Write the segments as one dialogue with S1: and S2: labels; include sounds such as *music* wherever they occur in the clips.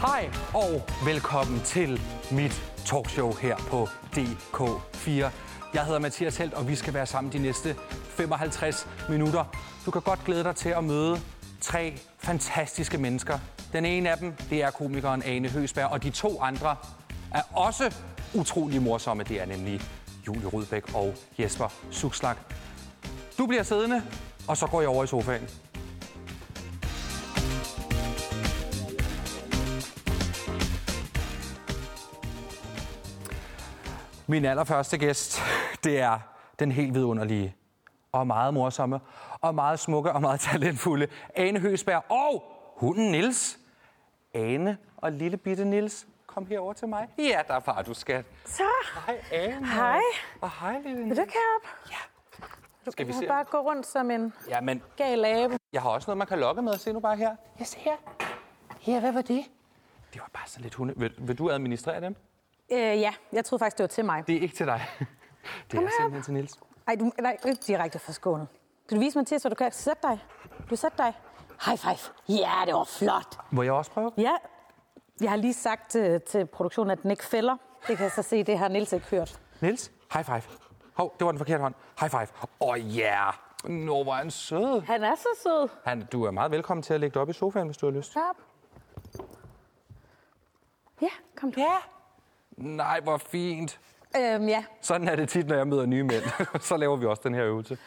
S1: Hej og velkommen til mit talkshow her på DK4. Jeg hedder Mathias Helt, og vi skal være sammen de næste 55 minutter. Du kan godt glæde dig til at møde tre fantastiske mennesker. Den ene af dem, det er komikeren Ane Høsberg, og de to andre er også utrolig morsomme. Det er nemlig Julie Rudbæk og Jesper Sukslak. Du bliver siddende, og så går jeg over i sofaen. Min allerførste gæst, det er den helt vidunderlige og meget morsomme og meget smukke og meget talentfulde Ane Høsberg og hunden Nils. Ane og lille bitte Nils, kom herover til mig. Ja, der er far, du skat.
S2: Så,
S1: Hej, Ane.
S2: Hej.
S1: Og hej, lille
S2: vil
S1: Nils.
S2: du ikke herop?
S1: Du Skal vi
S2: Du kan
S1: se?
S2: bare gå rundt som en
S1: Ja, men
S2: gal abe.
S1: jeg har også noget, man kan lokke med. Se nu bare her. Yes, her. Her, hvad var det? Det var bare sådan lidt hunde. Vil, vil du administrere dem?
S2: Øh, ja, jeg troede faktisk, det var til mig.
S1: Det er ikke til dig. Det er simpelthen til Nils.
S2: Ej, du nej, du er ikke direkte fra Skåne. Kan du vise mig til, så du kan sætte dig? Du sætte dig. High five. Ja, det var flot.
S1: Må jeg også prøve?
S2: Ja, jeg har lige sagt til, til produktionen, at den ikke fælder. Det kan jeg så se, det har Nils ikke hørt.
S1: Nils, high five. Hov, det var den forkerte hånd. High five. Åh, oh, ja. Yeah. Nå, hvor er han sød.
S2: Han er så sød.
S1: Han, du er meget velkommen til at lægge dig op i sofaen, hvis du har lyst.
S2: Herop. Ja, kom du. Ja.
S1: Nej, hvor fint.
S2: Øhm, ja.
S1: Sådan er det tit, når jeg møder nye mænd. *laughs* Så laver vi også den her øvelse.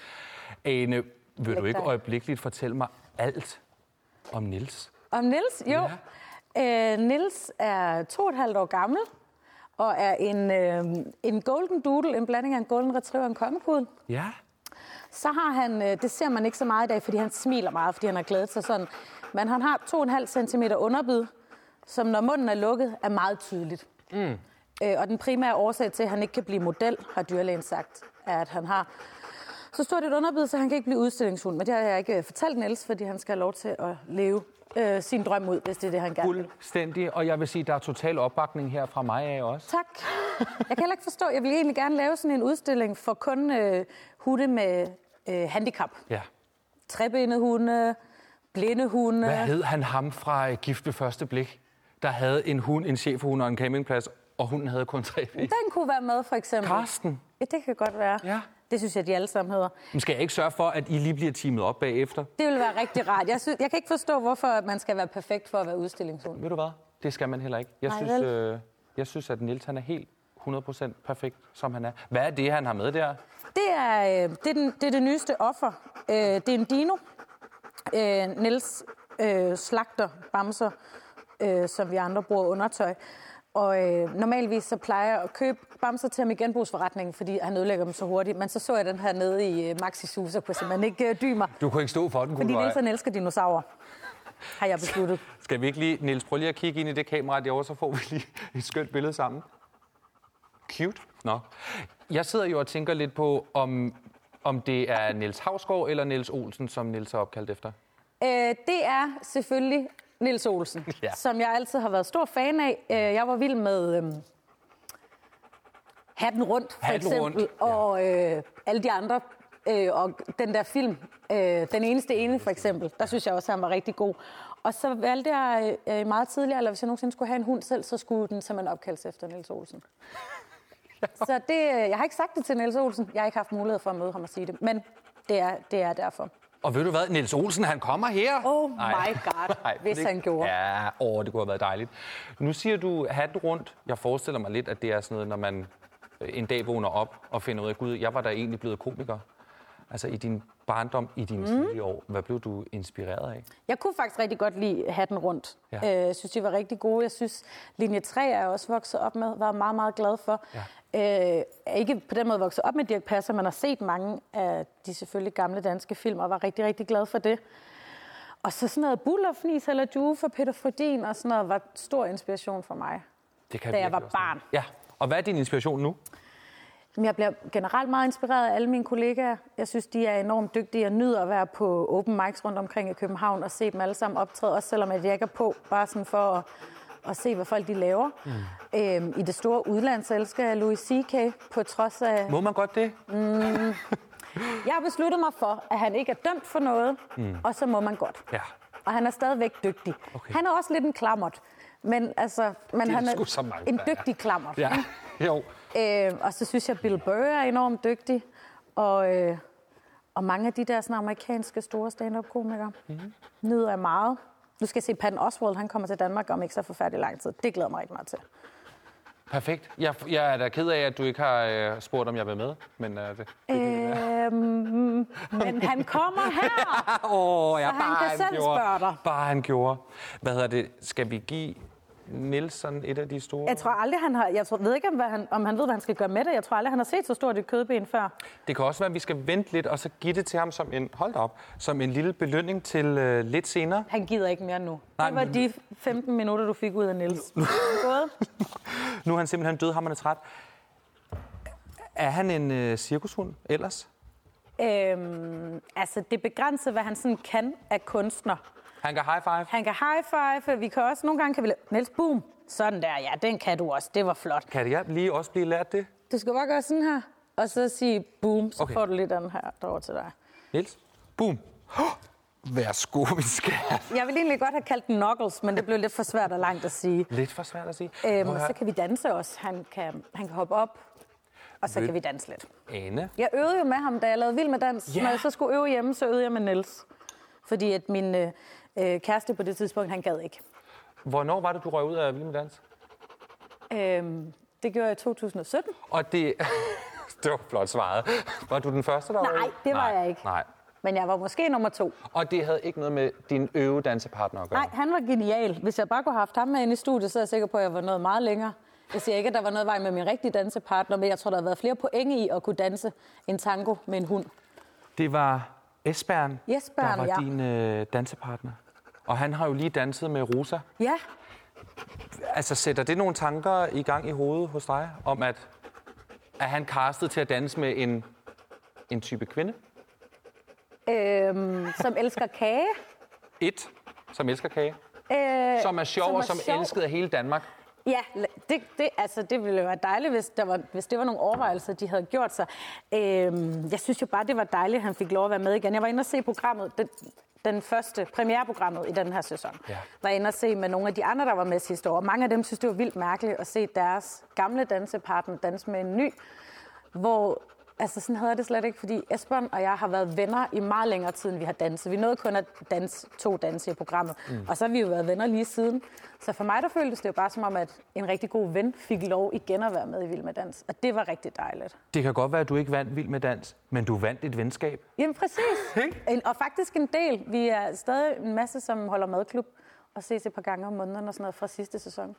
S1: Ane, vil du
S2: Læg
S1: ikke
S2: dig.
S1: øjeblikkeligt fortælle mig alt om Nils?
S2: Om Nils? Jo. Ja. Øh, Nils er to og et halvt år gammel og er en, øh, en golden doodle, en blanding af en golden retriever og en kommekuden.
S1: Ja.
S2: Så har han, øh, det ser man ikke så meget i dag, fordi han smiler meget, fordi han har glædet sig sådan. Men han har 2,5 cm underbid, som når munden er lukket, er meget tydeligt. Mm. Øh, og den primære årsag til, at han ikke kan blive model, har dyrlægen sagt, er, at han har så stort et underbid, så han kan ikke blive udstillingshund. Men det har jeg ikke øh, fortalt Niels, fordi han skal have lov til at leve øh, sin drøm ud, hvis det er det, han gerne vil.
S1: Fuldstændig, og jeg vil sige, at der er total opbakning her fra mig af også.
S2: Tak. Jeg kan heller ikke forstå, jeg vil egentlig gerne lave sådan en udstilling for kun øh, hunde med øh, handicap.
S1: Ja.
S2: trebenede hunde, blinde hunde.
S1: Hvad hed han ham fra øh, Gift ved første blik? Der havde en hund, en chefhund og en campingplads, og hunden havde kun tre ben.
S2: Den kunne være med, for eksempel.
S1: Karsten.
S2: Ja, det kan godt være.
S1: Ja.
S2: Det synes jeg, de alle sammen hedder.
S1: Men skal jeg ikke sørge for, at I lige bliver teamet op bagefter?
S2: Det vil være rigtig rart. Jeg, synes, jeg kan ikke forstå, hvorfor man skal være perfekt for at være udstillingshund.
S1: Ved du hvad? Det skal man heller ikke. Jeg,
S2: Nej,
S1: synes,
S2: vel?
S1: øh, jeg synes, at Nils han er helt 100% perfekt, som han er. Hvad er det, han har med der?
S2: Det er, øh, det, er den, det er det nyeste offer. Øh, det er en dino. Øh, Niels øh, slagter bamser, øh, som vi andre bruger undertøj. Og øh, normalvis så plejer jeg at købe bamser til ham i genbrugsforretningen, fordi han ødelægger dem så hurtigt. Men så så jeg den her nede i øh, Maxi Susa, kunne jeg simpelthen ikke øh, dy mig.
S1: Du kunne ikke stå for den, kunne
S2: Fordi
S1: du ej?
S2: Nils han elsker dinosaurer, har jeg besluttet.
S1: Skal vi ikke lige, Nils, prøv lige at kigge ind i det kamera derovre, så får vi lige *laughs* et skønt billede sammen. Cute. Nå. Jeg sidder jo og tænker lidt på, om, om det er Nils Havsgaard eller Nils Olsen, som Nils er opkaldt efter.
S2: Øh, det er selvfølgelig Nils Olsen,
S1: *laughs* Ja.
S2: ja. som jeg altid har været stor fan af. Øh, jeg var vild med øhm, Hatten Rundt, for
S1: Hatten
S2: eksempel,
S1: Rundt, ja.
S2: og øh, alle de andre. Øh, og den der film, øh, Den eneste ene, for eksempel, der synes jeg også, han var rigtig god. Og så valgte jeg øh, meget tidligere, eller hvis jeg nogensinde skulle have en hund selv, så skulle den simpelthen opkaldes efter Nils
S1: *laughs*
S2: Olsen. Så det, øh, jeg har ikke sagt det til Niels Olsen. Jeg har ikke haft mulighed for at møde ham og sige det. Men det er, det er derfor.
S1: Og ved du hvad, Nils Olsen, han kommer her.
S2: Oh my
S1: *laughs*
S2: God, hvis
S1: det-
S2: han gjorde.
S1: Ja, åh, det kunne have været dejligt. Nu siger du hat rundt. Jeg forestiller mig lidt, at det er sådan noget, når man øh, en dag vågner op og finder ud af, gud, jeg var da egentlig blevet komiker. Altså i din barndom, i dine mm. tidlige år, hvad blev du inspireret af?
S2: Jeg kunne faktisk rigtig godt lide Hatten Rundt.
S1: Ja.
S2: Ja. Øh, jeg synes, de var rigtig gode. Jeg synes, linje 3 er jeg også vokset op med, var meget, meget glad for. Ja. Øh, er ikke på den måde vokset op med Dirk Passer, man har set mange af de selvfølgelig gamle danske film, og var rigtig, rigtig glad for det. Og så sådan noget Bullerfnis eller Due for Peter Frödin og sådan noget var stor inspiration for mig.
S1: Det kan
S2: Da jeg
S1: virkelig
S2: var
S1: også noget.
S2: barn.
S1: Ja, og hvad er din inspiration nu?
S2: Men Jeg bliver generelt meget inspireret af alle mine kollegaer. Jeg synes, de er enormt dygtige. Jeg nyder at være på open mics rundt omkring i København og se dem alle sammen optræde, også selvom jeg ikke er på, bare sådan for at, at se, hvad folk de laver. Mm. Øhm, I det store udland, så elsker jeg Louis C.K. på trods af...
S1: Må man godt det?
S2: Jeg har besluttet mig for, at han ikke er dømt for noget, mm. og så må man godt.
S1: Ja.
S2: og han er stadigvæk dygtig.
S1: Mm. Okay.
S2: Okay. Han er også lidt en klammert, men, altså, men
S1: er
S2: han
S1: sgu så mange,
S2: en
S1: der er.
S2: dygtig klammert.
S1: Ja, *laughs* jo.
S2: Øh, og så synes jeg, Bill Burr er enormt dygtig. Og, øh, og mange af de der sådan, amerikanske store stand-up-komikere
S1: Mhm.
S2: mm-hmm. nyder jeg meget. Nu skal jeg se Patton Oswald, han kommer til Danmark om ikke så forfærdelig lang tid. Det glæder jeg mig rigtig meget til.
S3: Perfekt. Jeg, jeg er da ked af, at du ikke har øh, spurgt, om jeg vil med. Men øh, det,
S2: Øhm, men han kommer her!
S1: Åh, oh, ja,
S2: han
S1: *laughs*
S2: kan selv
S1: gjorde.
S2: spørge dig.
S1: Bare han gjorde. Hvad hedder det? Skal vi give Nielsen et af de store?
S2: Jeg tror aldrig, han har... Jeg tror, ved ikke, om, hvad han, om han ved, hvad han skal gøre med det. Jeg tror aldrig, han har set så stort et kødben før.
S1: Det kan også være, at vi skal vente lidt, og så give det til ham som en, hold da op, som en lille belønning til øh, lidt senere.
S2: Han gider ikke mere nu.
S1: Nej,
S2: Nej, det var
S1: men-
S2: de 15 minutter, du fik ud af Niels. Gået.
S1: Nu er han simpelthen død, ham er træt. Er han en øh, cirkushund ellers?
S2: Øhm, altså, det begrænser, hvad han sådan kan af kunstner.
S1: Han kan high five.
S2: Han kan high five, vi kan også nogle gange... Kan vi la- Niels, boom! Sådan der, ja, den kan du også. Det var flot.
S1: Kan jeg lige også blive lært det?
S2: Du skal bare gøre sådan her, og så sige boom, så
S1: Okay.
S2: okay. får du lige den her derovre til dig.
S1: Niels? Boom. *gasps* Oh, værsgo, min skat.
S2: Jeg ville egentlig godt have kaldt den knuckles, men det blev lidt for svært og langt at sige.
S1: Lidt for svært at sige.
S2: Øhm,
S1: Må
S2: og
S1: jeg-
S2: så kan vi danse også. Han kan, han kan hoppe op, og så
S1: Ved-
S2: kan vi danse lidt.
S1: Ane.
S2: Jeg øvede jo med ham, da jeg lavede Vild med Dans.
S1: Ja.
S2: Yeah. Når jeg så skulle øve hjemme, så øvede jeg med Niels. Fordi at min øh, øh, kæreste på det tidspunkt, han gad ikke.
S1: Hvornår var det, du røg ud af Vild med Dans?
S2: Øhm, det gjorde jeg i 2017.
S1: Og det... *laughs* det var flot svaret. Var du den første, der
S2: Nej,
S1: røg ud?
S2: det var jeg ikke.
S1: Nej.
S2: Men jeg var måske nummer to.
S3: og det havde ikke noget med din øve dansepartner at gøre.
S2: Nej, han var genial. Hvis jeg bare kunne have haft ham med inde i studiet, så er jeg sikker på, at jeg var nået meget længere. Jeg siger ikke, at der var noget vej med min rigtige dansepartner, men jeg tror, der har været flere pointe i at kunne danse en tango med en hund.
S1: Det var Esbern,
S2: Esbern,
S1: der var
S2: ja.
S1: din øh, dansepartner. Og han har jo lige danset med Rosa.
S2: Ja,
S1: Altså, sætter det nogle tanker i gang i hovedet hos dig, om at, at han castet til at danse med en, en type kvinde?
S2: øhm, som elsker kage.
S1: Et, som elsker kage,
S2: Øh,
S3: Som er sjov og som
S2: sjov.
S3: elsket af hele Danmark.
S2: Ja, det, det, altså, det ville jo være dejligt, hvis, der var, hvis det var nogle overvejelser, de havde gjort sig. Øhm, jeg synes jo bare, det var dejligt, at han fik lov at være med igen. Jeg var inde og se programmet, den, den første premiereprogrammet i den her sæson.
S1: Ja.
S2: Var inde og se med nogle af de andre, der var med sidste år. Mange af dem synes, det var vildt mærkeligt at se deres gamle dansepartner danse med en ny. Hvor, altså sådan havde jeg det slet ikke, fordi Esbjørn og jeg har været venner i meget længere tid, end vi har danset. Vi nåede kun at danse to danse i programmet, mm. og så har vi jo været venner lige siden. Så for mig der føltes det jo bare som om, at en rigtig god ven fik lov igen at være med i Vild med Dans, og det var rigtig dejligt.
S1: Det kan godt være, at du ikke vandt Vild med Dans, men du vandt et venskab.
S2: Jamen præcis, en, og faktisk en del. Vi er stadig en masse, som holder madklub og ses et par gange om måneden og sådan noget fra sidste sæson.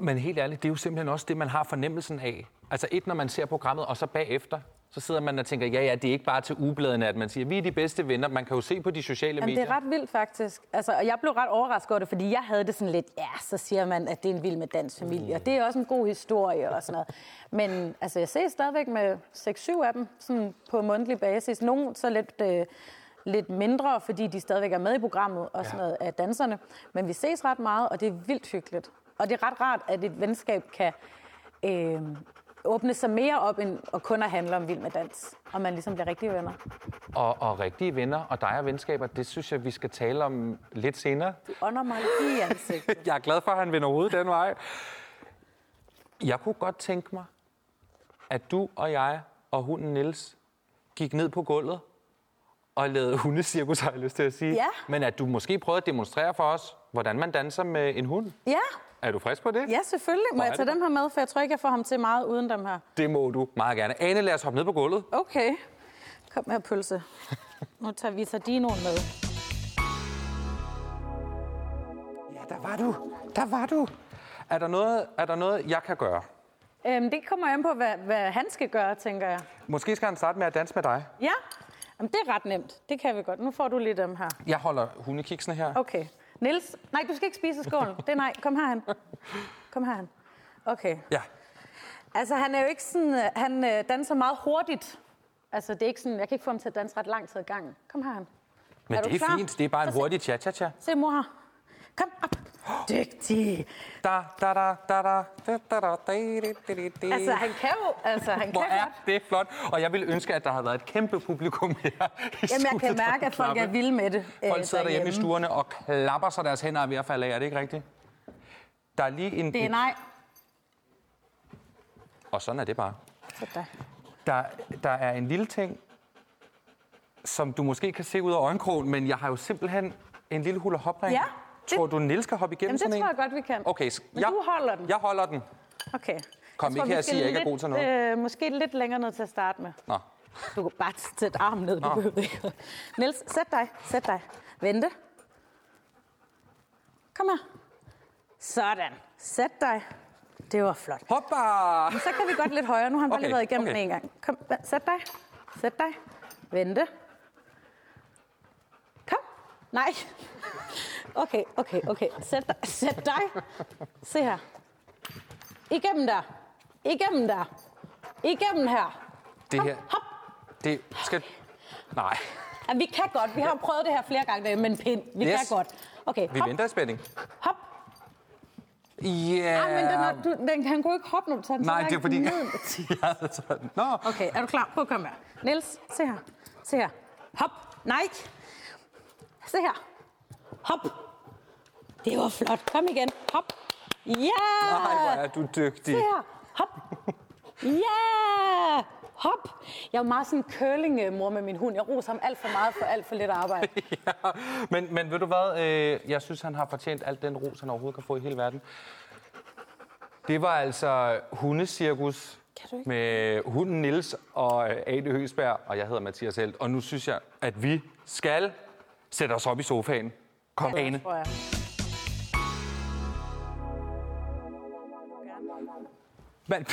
S1: Men helt ærligt, det er jo simpelthen også det, man har fornemmelsen af. Altså et, når man ser programmet, og så bagefter, så sidder man og tænker, ja, ja, det er ikke bare til ugebladene, at man siger, vi er de bedste venner. Man kan jo se på de sociale
S2: Jamen,
S1: medier.
S2: det er ret vildt, faktisk. Altså, og jeg blev ret overrasket over det, fordi jeg havde det sådan lidt, ja, så siger man, at det er en vild med dansk familie, og det er også en god historie og sådan noget. Men altså, jeg ses stadigvæk med 6-7 af dem sådan på mundtlig basis. Nogle så lidt, øh, lidt mindre, fordi de stadigvæk er med i programmet og sådan
S1: Ja.
S2: noget af danserne. Men vi ses ret meget, og det er vildt hyggeligt. Og det er ret rart, at et venskab kan øh, åbne sig mere op, end og kun at handle om vild med dans. Og man ligesom bliver rigtige venner.
S3: Og, og rigtige venner og dig og venskaber, det synes jeg, vi skal tale om lidt senere.
S2: Du ånder mig lige i ansigtet. *laughs*
S1: Jeg er glad for, at han vender hovedet den vej. Jeg kunne godt tænke mig, at du og jeg og hunden Niels gik ned på gulvet og lavede hundecirkus, har jeg lyst til at sige.
S2: Ja.
S1: Men at du måske prøvede at demonstrere for os, hvordan man danser med en hund.
S2: Ja,
S1: Er du frisk på det?
S2: Ja, selvfølgelig. Må
S1: er
S2: jeg tage
S1: det
S2: dem her med, for jeg tror ikke, jeg får ham til meget uden dem her.
S1: Det må du meget gerne. Ane, lad os hoppe ned på gulvet.
S2: Okay. Kom her,
S1: *laughs*
S2: pølse. Nu tager vi sardinoen med.
S1: Ja, der var du. Der var du. Er der noget, er der noget jeg kan gøre?
S2: Øhm, det kommer an på, hvad, hvad han skal gøre, tænker jeg.
S1: Måske skal han starte med at danse med dig.
S2: Ja, Jamen, det er ret nemt. Det kan vi godt. Nu får du lige dem her.
S1: Jeg holder hundekiksene her.
S2: Okay. Nils, nej, du skal ikke spise af skålen. Det er nej. Kom herhen. Kom herhen. Okay.
S1: Ja.
S2: Altså, han er jo ikke sådan... øh, Han øh, danser meget hurtigt. Altså, det er ikke sådan... Jeg kan ikke få ham til at danse ret lang tid ad gangen. Kom herhen.
S1: Men
S2: Er du
S1: det er
S2: klar?
S1: fint. Det er bare en
S2: Så se-
S1: hurtig cha-cha-cha.
S2: Se mor her. Kom op. dygtig.
S1: Da, da, da, da, da, da, da, da, da, da, da, da, da.
S2: Altså, han kan jo. Altså, han
S1: Hvor
S2: kan
S1: er
S2: godt.
S1: det flot. Og jeg ville ønske, at der havde været et kæmpe publikum her. i
S2: Jamen, jeg kan
S1: studiet, der
S2: mærke, at folk er
S1: klappede.
S2: vilde med det. øh,
S1: Folk sidder derhjemme i
S2: derhjemme.
S1: stuerne og klapper sig deres hænder er ved at falde af. Er det ikke rigtigt? Der er lige en...
S2: Det er nej.
S1: Og sådan er det bare.
S2: Sådan.
S1: Der, der er en lille ting, som du måske kan se ud af øjenkrogen, men jeg har jo simpelthen en lille hula hopring.
S2: Ja, det-
S1: Tror du, Niels skal hoppe igennem
S2: Jamen, det
S1: sådan en?
S2: tror jeg godt, vi kan.
S1: Okay, s-
S2: Men du holder den.
S1: Jeg holder den.
S2: Okay.
S1: Kom
S2: tror,
S1: ikke her
S2: vi
S1: og sig,
S2: skal
S1: jeg ikke er
S2: lidt,
S1: god til noget.
S2: Øh, måske lidt længere ned til at starte med.
S1: Nå.
S2: Du kan bare sætte armen ned, du
S1: Nå.
S2: behøver ikke. Niels, sæt dig, sæt dig. Vente. Kom her. Sådan. Sæt dig. Det var flot.
S1: Hoppa!
S2: Så kan vi godt lidt højere. Nu har han bare
S1: Okay,
S2: lige været igennem
S1: okay.
S2: okay. en gang. Kom, hva- sæt dig. Sæt dig. Vente. Kom. Nej. Okay, okay, okay. Sæt dig. Sæt dig. Se her. Igennem der. Igennem der. Igennem her.
S1: Det
S2: Kom,
S1: her,
S2: hop.
S1: det skal... Nej,
S2: Ja, vi kan godt. Vi har jo prøvet det her flere gange derhjemme med en pind. Vi
S1: Yes.
S2: kan godt. Okay,
S1: vi
S2: hop,
S1: venter i spænding.
S2: hop.
S1: Ja,
S2: Ej, Ah, men den, er, du, den, han kunne ikke hoppe, når du tager den så
S1: Øhm. Nej, det er
S2: langt
S1: *laughs* fordi...
S2: ned.
S1: jeg havde sådan... Nå,
S2: Okay, er du klar? Prøv at komme her. Niels, se her. Se her. Hop. Nej. Se her. Hop. Det var flot. Kom igen. Hop. Ja!
S1: nej, hvor er du dygtig.
S2: Se her. Hop. Ja! Hop. Jeg er jo meget sådan en curlingmor med min hund. Jeg roser ham alt for meget for alt for lidt arbejde.
S1: *laughs* Ja, men, men ved du hvad, øh, jeg synes, han har fortjent alt den ros, han overhovedet kan få i hele verden. Det var altså hundecirkus
S2: Kan du ikke?
S1: med hunden Nils og øh, Ane Høgsberg, og jeg hedder Mathias Helt. Og nu synes jeg, at vi skal sætte os op i sofaen. Kom, ja, Ane.
S2: Tror jeg.
S1: Man,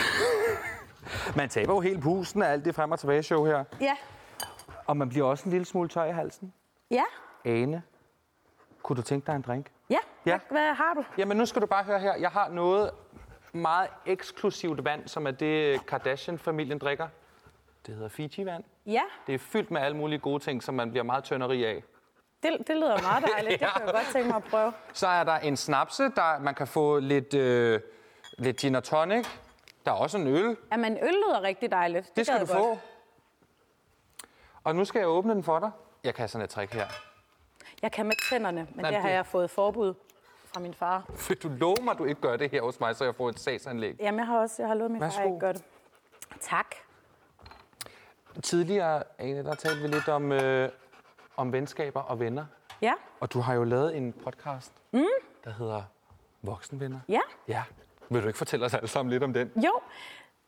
S1: *laughs* man taber jo hele pusten af alt det frem- og tilbage-show her.
S2: Ja.
S1: Og man bliver også en lille smule tør i halsen.
S2: Ja.
S1: Ane, kunne du tænke dig en drink?
S2: Ja.
S1: Ja.
S2: Hvad, hvad har du?
S1: Jamen, nu skal du bare høre her. Jeg har noget meget eksklusivt vand, som er det Kardashian-familien drikker. Det hedder Fiji-vand.
S2: Ja.
S1: Det er fyldt med alle mulige gode ting, som man bliver meget tønderi af.
S2: Det, det lyder meget dejligt.
S1: *laughs*
S2: Det kan jeg godt tænke mig at prøve.
S1: Så er der en snapse, der man kan få lidt, øh, lidt gin og tonic. Der er også en øl. Det,
S2: Ja, men øl lyder rigtig dejligt. Det,
S1: det skal
S2: gad
S1: du
S2: jeg
S1: få. Og nu skal jeg åbne den for dig. Jeg kan sådan et trick her.
S2: Jeg kan med tænderne, men
S1: Nej,
S2: Nej, det har
S1: det-
S2: jeg fået forbud fra min far.
S1: Vil du love mig, at du ikke gør det her hos mig, så jeg får et sagsanlæg?
S2: Jamen, jeg har også jeg har lovet min far, at jeg
S1: Værsgo.
S2: ikke gør det. Tak.
S1: Tidligere, Ane, der talte vi lidt om, øh, om venskaber og venner.
S2: Ja,
S1: Og du har jo lavet en podcast, mm. der hedder Voksenvenner.
S2: ja.
S1: Ja. Vil du ikke fortælle os alle sammen lidt om den?
S2: Jo,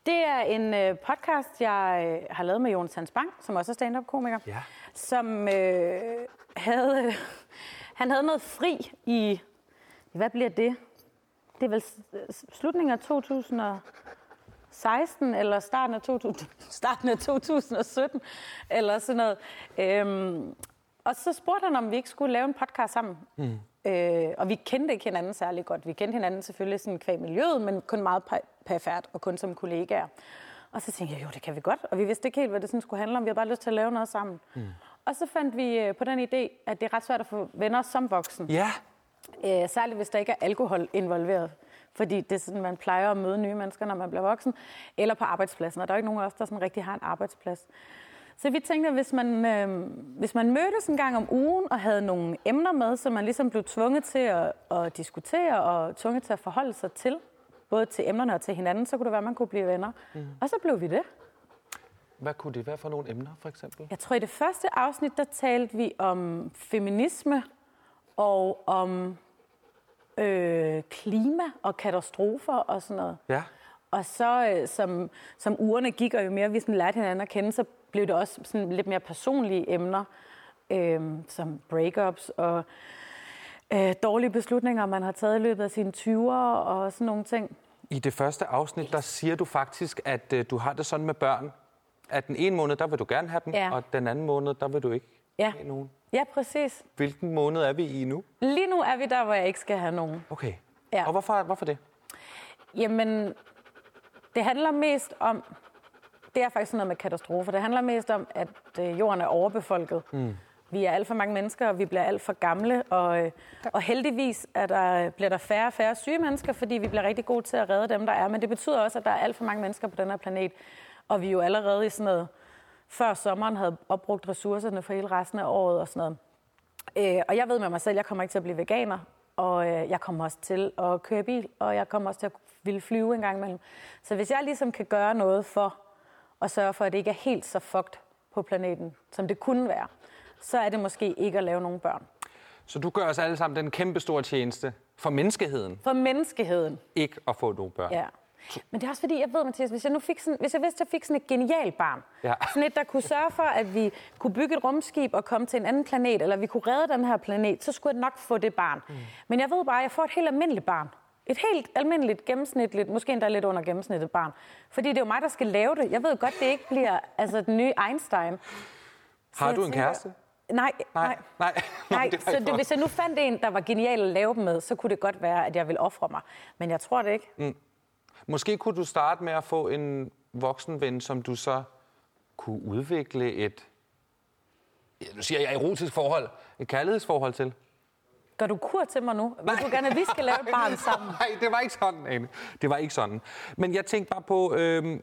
S2: det er en øh, podcast, jeg øh, har lavet med Jonas Hans Bang, som også er stand-up-komiker,
S1: Ja.
S2: som øh, havde, *laughs* øh, han havde noget fri i, hvad bliver det? Det er vel s- s- slutningen af 2016, eller starten af, 2000, *laughs* starten af 2017, eller sådan noget. Øhm, og så spurgte han, om vi ikke skulle lave en podcast sammen. Mm. Øh, og vi kendte ikke hinanden særlig godt. Vi kendte hinanden selvfølgelig sådan kvæg miljøet, men kun meget pa- perfekt og kun som kollegaer. Og så tænkte jeg, jo, det kan vi godt. Og vi vidste ikke helt, hvad det sådan skulle handle om. Vi havde bare lyst til at lave noget sammen. Mm. Og så fandt vi øh, på den idé, at det er ret svært at få venner som voksen.
S1: Ja.
S2: Øh, særligt hvis der ikke er alkohol involveret. Fordi det er sådan, man plejer at møde nye mennesker, når man bliver voksen. Eller på arbejdspladsen. Og der er jo ikke nogen af os, der sådan rigtig har en arbejdsplads. Så vi tænkte, at hvis man, øh, hvis man mødtes en gang om ugen og havde nogle emner med, som man ligesom blev tvunget til at, at diskutere og tvunget til at forholde sig til, både til emnerne og til hinanden, så kunne det være, at man kunne blive venner. Mm. Og så blev vi det.
S1: Hvad kunne det være for nogle emner, for eksempel?
S2: Jeg tror, i det første afsnit, der talte vi om feminisme og om øh, klima og katastrofer og sådan noget.
S1: Ja.
S2: Og så, øh, som, som ugerne gik, og jo mere vi sådan lærte hinanden at kende, så blev det også sådan lidt mere personlige emner, øh, som breakups og øh, dårlige beslutninger, man har taget i løbet af sine 20'er og sådan nogle ting.
S1: I det første afsnit, der siger du faktisk, at øh, du har det sådan med børn, at den ene måned, der vil du gerne have dem,
S2: Ja.
S1: og den anden måned, der vil du ikke
S2: Ja.
S1: have nogen.
S2: Ja, præcis.
S1: Hvilken måned er vi i nu?
S2: Lige nu er vi der, hvor jeg ikke skal have nogen.
S1: Okay.
S2: Ja.
S1: Og hvorfor, hvorfor det?
S2: Jamen, det handler mest om... Det er faktisk sådan noget med katastrofer. Det handler mest om, at øh, jorden er overbefolket. Mm. Vi er alt for mange mennesker, og vi bliver alt for gamle, og, øh, og heldigvis er der, bliver der færre og færre syge mennesker, fordi vi bliver rigtig gode til at redde dem, der er. Men det betyder også, at der er alt for mange mennesker på den her planet, og vi er jo allerede i sådan noget, før sommeren havde opbrugt ressourcerne for hele resten af året og sådan noget. Øh, og jeg ved med mig selv, at jeg kommer ikke til at blive veganer, og øh, jeg kommer også til at køre bil, og jeg kommer også til at ville flyve en gang imellem. Så hvis jeg ligesom kan gøre noget for at sørge for, at det ikke er helt så fucked på planeten, som det kunne være, så er det måske ikke at lave nogen børn.
S1: Så du gør os alle sammen den kæmpe store tjeneste for menneskeheden,
S2: For menneskeheden,
S1: ikke at få nogle børn.
S2: ja. Men det er også fordi, jeg ved, Mathias, hvis jeg nu fik sådan, hvis jeg vidste, at jeg fik sådan et genialt barn,
S1: Ja.
S2: sådan et, der kunne sørge for, at vi kunne bygge et rumskib og komme til en anden planet, eller vi kunne redde den her planet, så skulle jeg nok få det barn. Mm. Men jeg ved bare, at jeg får et helt almindeligt barn. Et helt almindeligt, gennemsnitligt, måske endda lidt under gennemsnittet barn. Fordi det er jo mig, der skal lave det. Jeg ved godt, det ikke bliver altså, den nye Einstein. Så
S1: Har
S2: jeg
S1: du en
S2: tænker-
S1: kæreste?
S2: Nej,
S1: *laughs*
S2: nej.
S1: Nej,
S2: Nej,
S1: det har
S2: så
S1: jeg
S2: det,
S1: fået.
S2: hvis jeg nu fandt en, der var genial at lave dem med, så kunne det godt være, at jeg ville ofre mig. Men jeg tror det ikke.
S1: Måske kunne du starte med at få en voksenven, som du så kunne udvikle et, ja, nu siger jeg erotisk forhold, et kærlighedsforhold til.
S2: Gør du kur til mig nu? Vil du gerne, at vi skal lave et
S1: *laughs*
S2: barn sammen?
S1: Nej, det var ikke sådan, Ane. Det var ikke sådan. Men jeg tænkte bare på, øhm,
S2: Jeg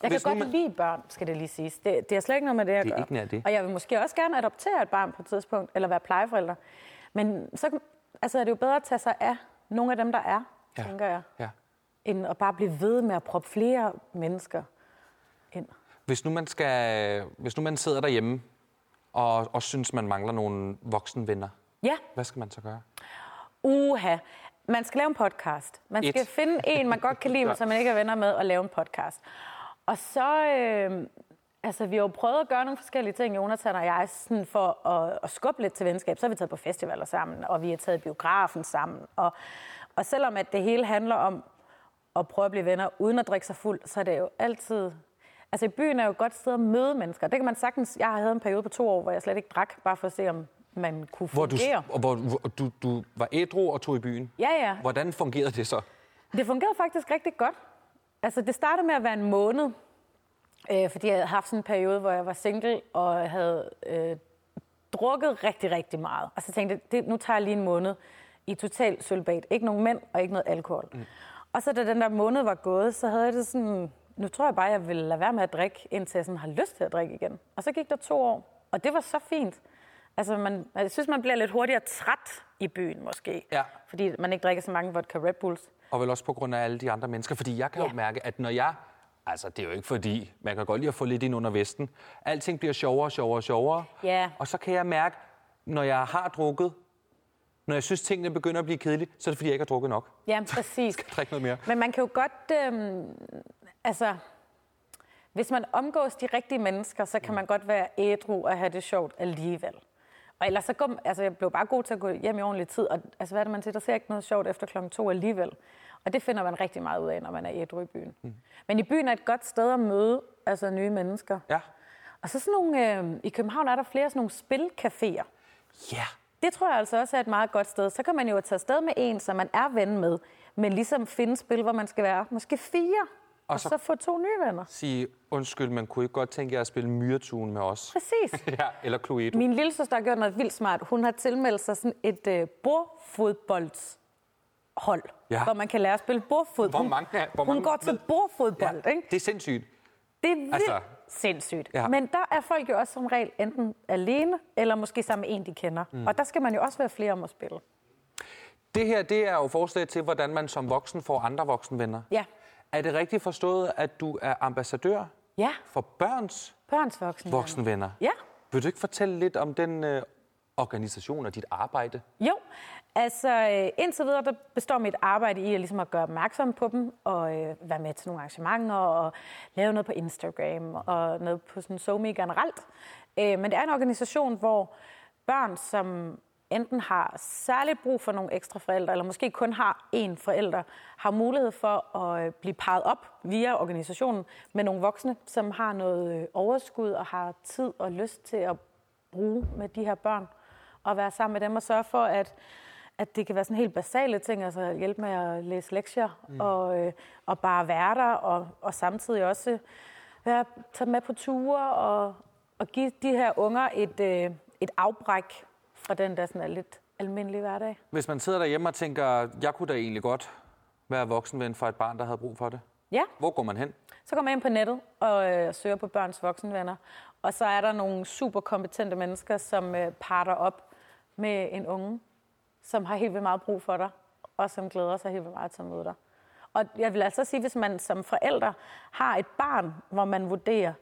S2: kan
S1: Hvis nu
S2: godt
S1: man-
S2: lide børn, skal det lige siges. Det, det er slet ikke noget med det, jeg
S1: Det er
S2: gør.
S1: ikke nær det.
S2: Og jeg vil måske også gerne adoptere et barn på et tidspunkt, eller være plejeforælder. Men så kan- altså, er det jo bedre at tage sig af nogle af dem, der er,
S1: Ja.
S2: ja. tænker jeg,
S1: ja,
S2: end at bare blive ved med at proppe flere mennesker ind.
S1: hvis, nu man skal, hvis nu man sidder derhjemme og, og synes, man mangler nogle voksenvenner,
S2: Ja,
S1: hvad skal man så gøre?
S2: Uha. Man skal lave en podcast. Man
S1: Et.
S2: skal Et. finde en, man godt
S1: *laughs*
S2: kan lide, men som man ikke er venner med, og lave en podcast. Og så... Øh, altså, vi har jo prøvet at gøre nogle forskellige ting, Jonathan og jeg, sådan for at, at skubbe lidt til venskab. Så har vi taget på festivaler sammen, og vi har taget i biografen sammen. Og, og selvom at det hele handler om at prøve at blive venner uden at drikke sig fuld, så er det jo altid... Altså, byen er jo et godt sted at møde mennesker. Det kan man sagtens... Jeg havde en periode på to år, hvor jeg slet ikke drak, bare for at se, om man kunne
S1: Hvor du,
S2: fungere.
S1: og hvor, hvor du, du var ædru og tog i byen.
S2: Ja, ja.
S1: Hvordan fungerede det så?
S2: Det fungerede faktisk rigtig godt. Altså, det startede med at være en måned, øh, fordi jeg havde haft sådan en periode, hvor jeg var single og havde øh, drukket rigtig, rigtig meget. Og så tænkte jeg, det, nu tager jeg lige en måned i total sølvbad. Ikke nogen mænd og ikke noget alkohol. Mm. Og så da den der måned var gået, så havde jeg det sådan, nu tror jeg bare, jeg vil lade være med at drikke, indtil jeg sådan har lyst til at drikke igen. Og så gik der to år, og det var så fint. Altså, man, jeg synes, man bliver lidt hurtigere træt i byen, måske.
S1: Ja.
S2: Fordi man ikke drikker så mange vodka Red Bulls.
S1: Og vel også på grund af alle de andre mennesker. Fordi jeg kan ja. jo
S2: Ja.
S1: mærke, at når jeg... Altså, det er jo ikke fordi, man kan godt lide at få lidt ind under vesten. Alting bliver sjovere og sjovere og sjovere.
S2: Ja.
S1: Og så kan jeg mærke, når jeg har drukket, når jeg synes, tingene begynder at blive kedelige, så er det fordi, jeg ikke har drukket nok.
S2: Ja, præcis.
S1: Drik noget mere.
S2: Men man kan jo godt, øhm, altså, hvis man omgås de rigtige mennesker, så kan man godt være ædru og have det sjovt alligevel. Og ellers så går, altså, jeg blev bare god til at gå hjem i ordentlig tid, og altså, hvad er det, man siger, der ser ikke noget sjovt efter klokken to alligevel. Og det finder man rigtig meget ud af, når man er ædru i byen. Mm. Men i byen er et godt sted at møde altså, nye mennesker.
S1: Ja.
S2: Og så sådan nogle, øh, i København er der flere sådan nogle spilcaféer.
S1: Ja.
S2: Det tror jeg altså også er et meget godt sted. Så kan man jo tage afsted med en, som man er ven med, men ligesom finde spil, hvor man skal være måske fire, og, og
S1: så-
S2: så... få to nye venner.
S1: Sige, undskyld, man kunne ikke godt tænke jer at spille myretun med os.
S2: Præcis.
S1: *laughs* ja, eller Cluedo.
S2: Min lille søster har gjort noget vildt smart. Hun har tilmeldt sig sådan et øh, bordfodboldshold,
S1: Ja.
S2: hvor man kan lære at spille bordfodbold.
S1: Hvor mange er- hvor
S2: Hun
S1: mange-
S2: går til bordfodbold, ja. ikke?
S1: Det er sindssygt.
S2: Det er vildt
S1: Altså-
S2: altså, sindssygt.
S1: Ja.
S2: Ja. Men der er folk jo også som regel enten alene, eller måske sammen med en, de kender. Mm. Og der skal man jo også være flere om at spille.
S1: Det her, det er jo forslag til, hvordan man som voksen får andre voksenvenner.
S2: Ja.
S1: Er det rigtigt forstået, at du er ambassadør
S2: Ja,
S1: for børns
S2: børns voksne.
S1: voksenvenner?
S2: Ja.
S1: Vil du ikke fortælle lidt om den øh, organisation og dit arbejde?
S2: Jo, altså øh, indtil videre der består mit arbejde i at, ligesom at gøre opmærksom på dem, og øh, være med til nogle arrangementer, og lave noget på Instagram, og noget på sådan SoMe generelt. Øh, men det er en organisation, hvor børn, som enten har særligt brug for nogle ekstra forældre, eller måske kun har én forælder, har mulighed for at øh, blive parret op via organisationen med nogle voksne, som har noget øh, overskud og har tid og lyst til at bruge med de her børn og være sammen med dem og sørge for, at, at det kan være sådan helt basale ting, altså hjælpe med at læse lektier mm. og, øh, og bare være der og, og samtidig også være, tage dem med på ture og, at give de her unger et, øh, et afbræk fra den der sådan er lidt almindelige hverdag.
S1: Hvis man sidder derhjemme og tænker, jeg kunne da egentlig godt være voksenven for et barn, der havde brug for det.
S2: Ja,
S1: Hvor går man hen?
S2: så går man ind på nettet og øh, søger på børns voksenvenner. Og så er der nogle super kompetente mennesker, som øh, parter op med en unge, som har helt vildt meget brug for dig, og som glæder sig helt vildt meget til at møde dig. Og jeg vil altså sige, hvis man som forælder har et barn, hvor man vurderer,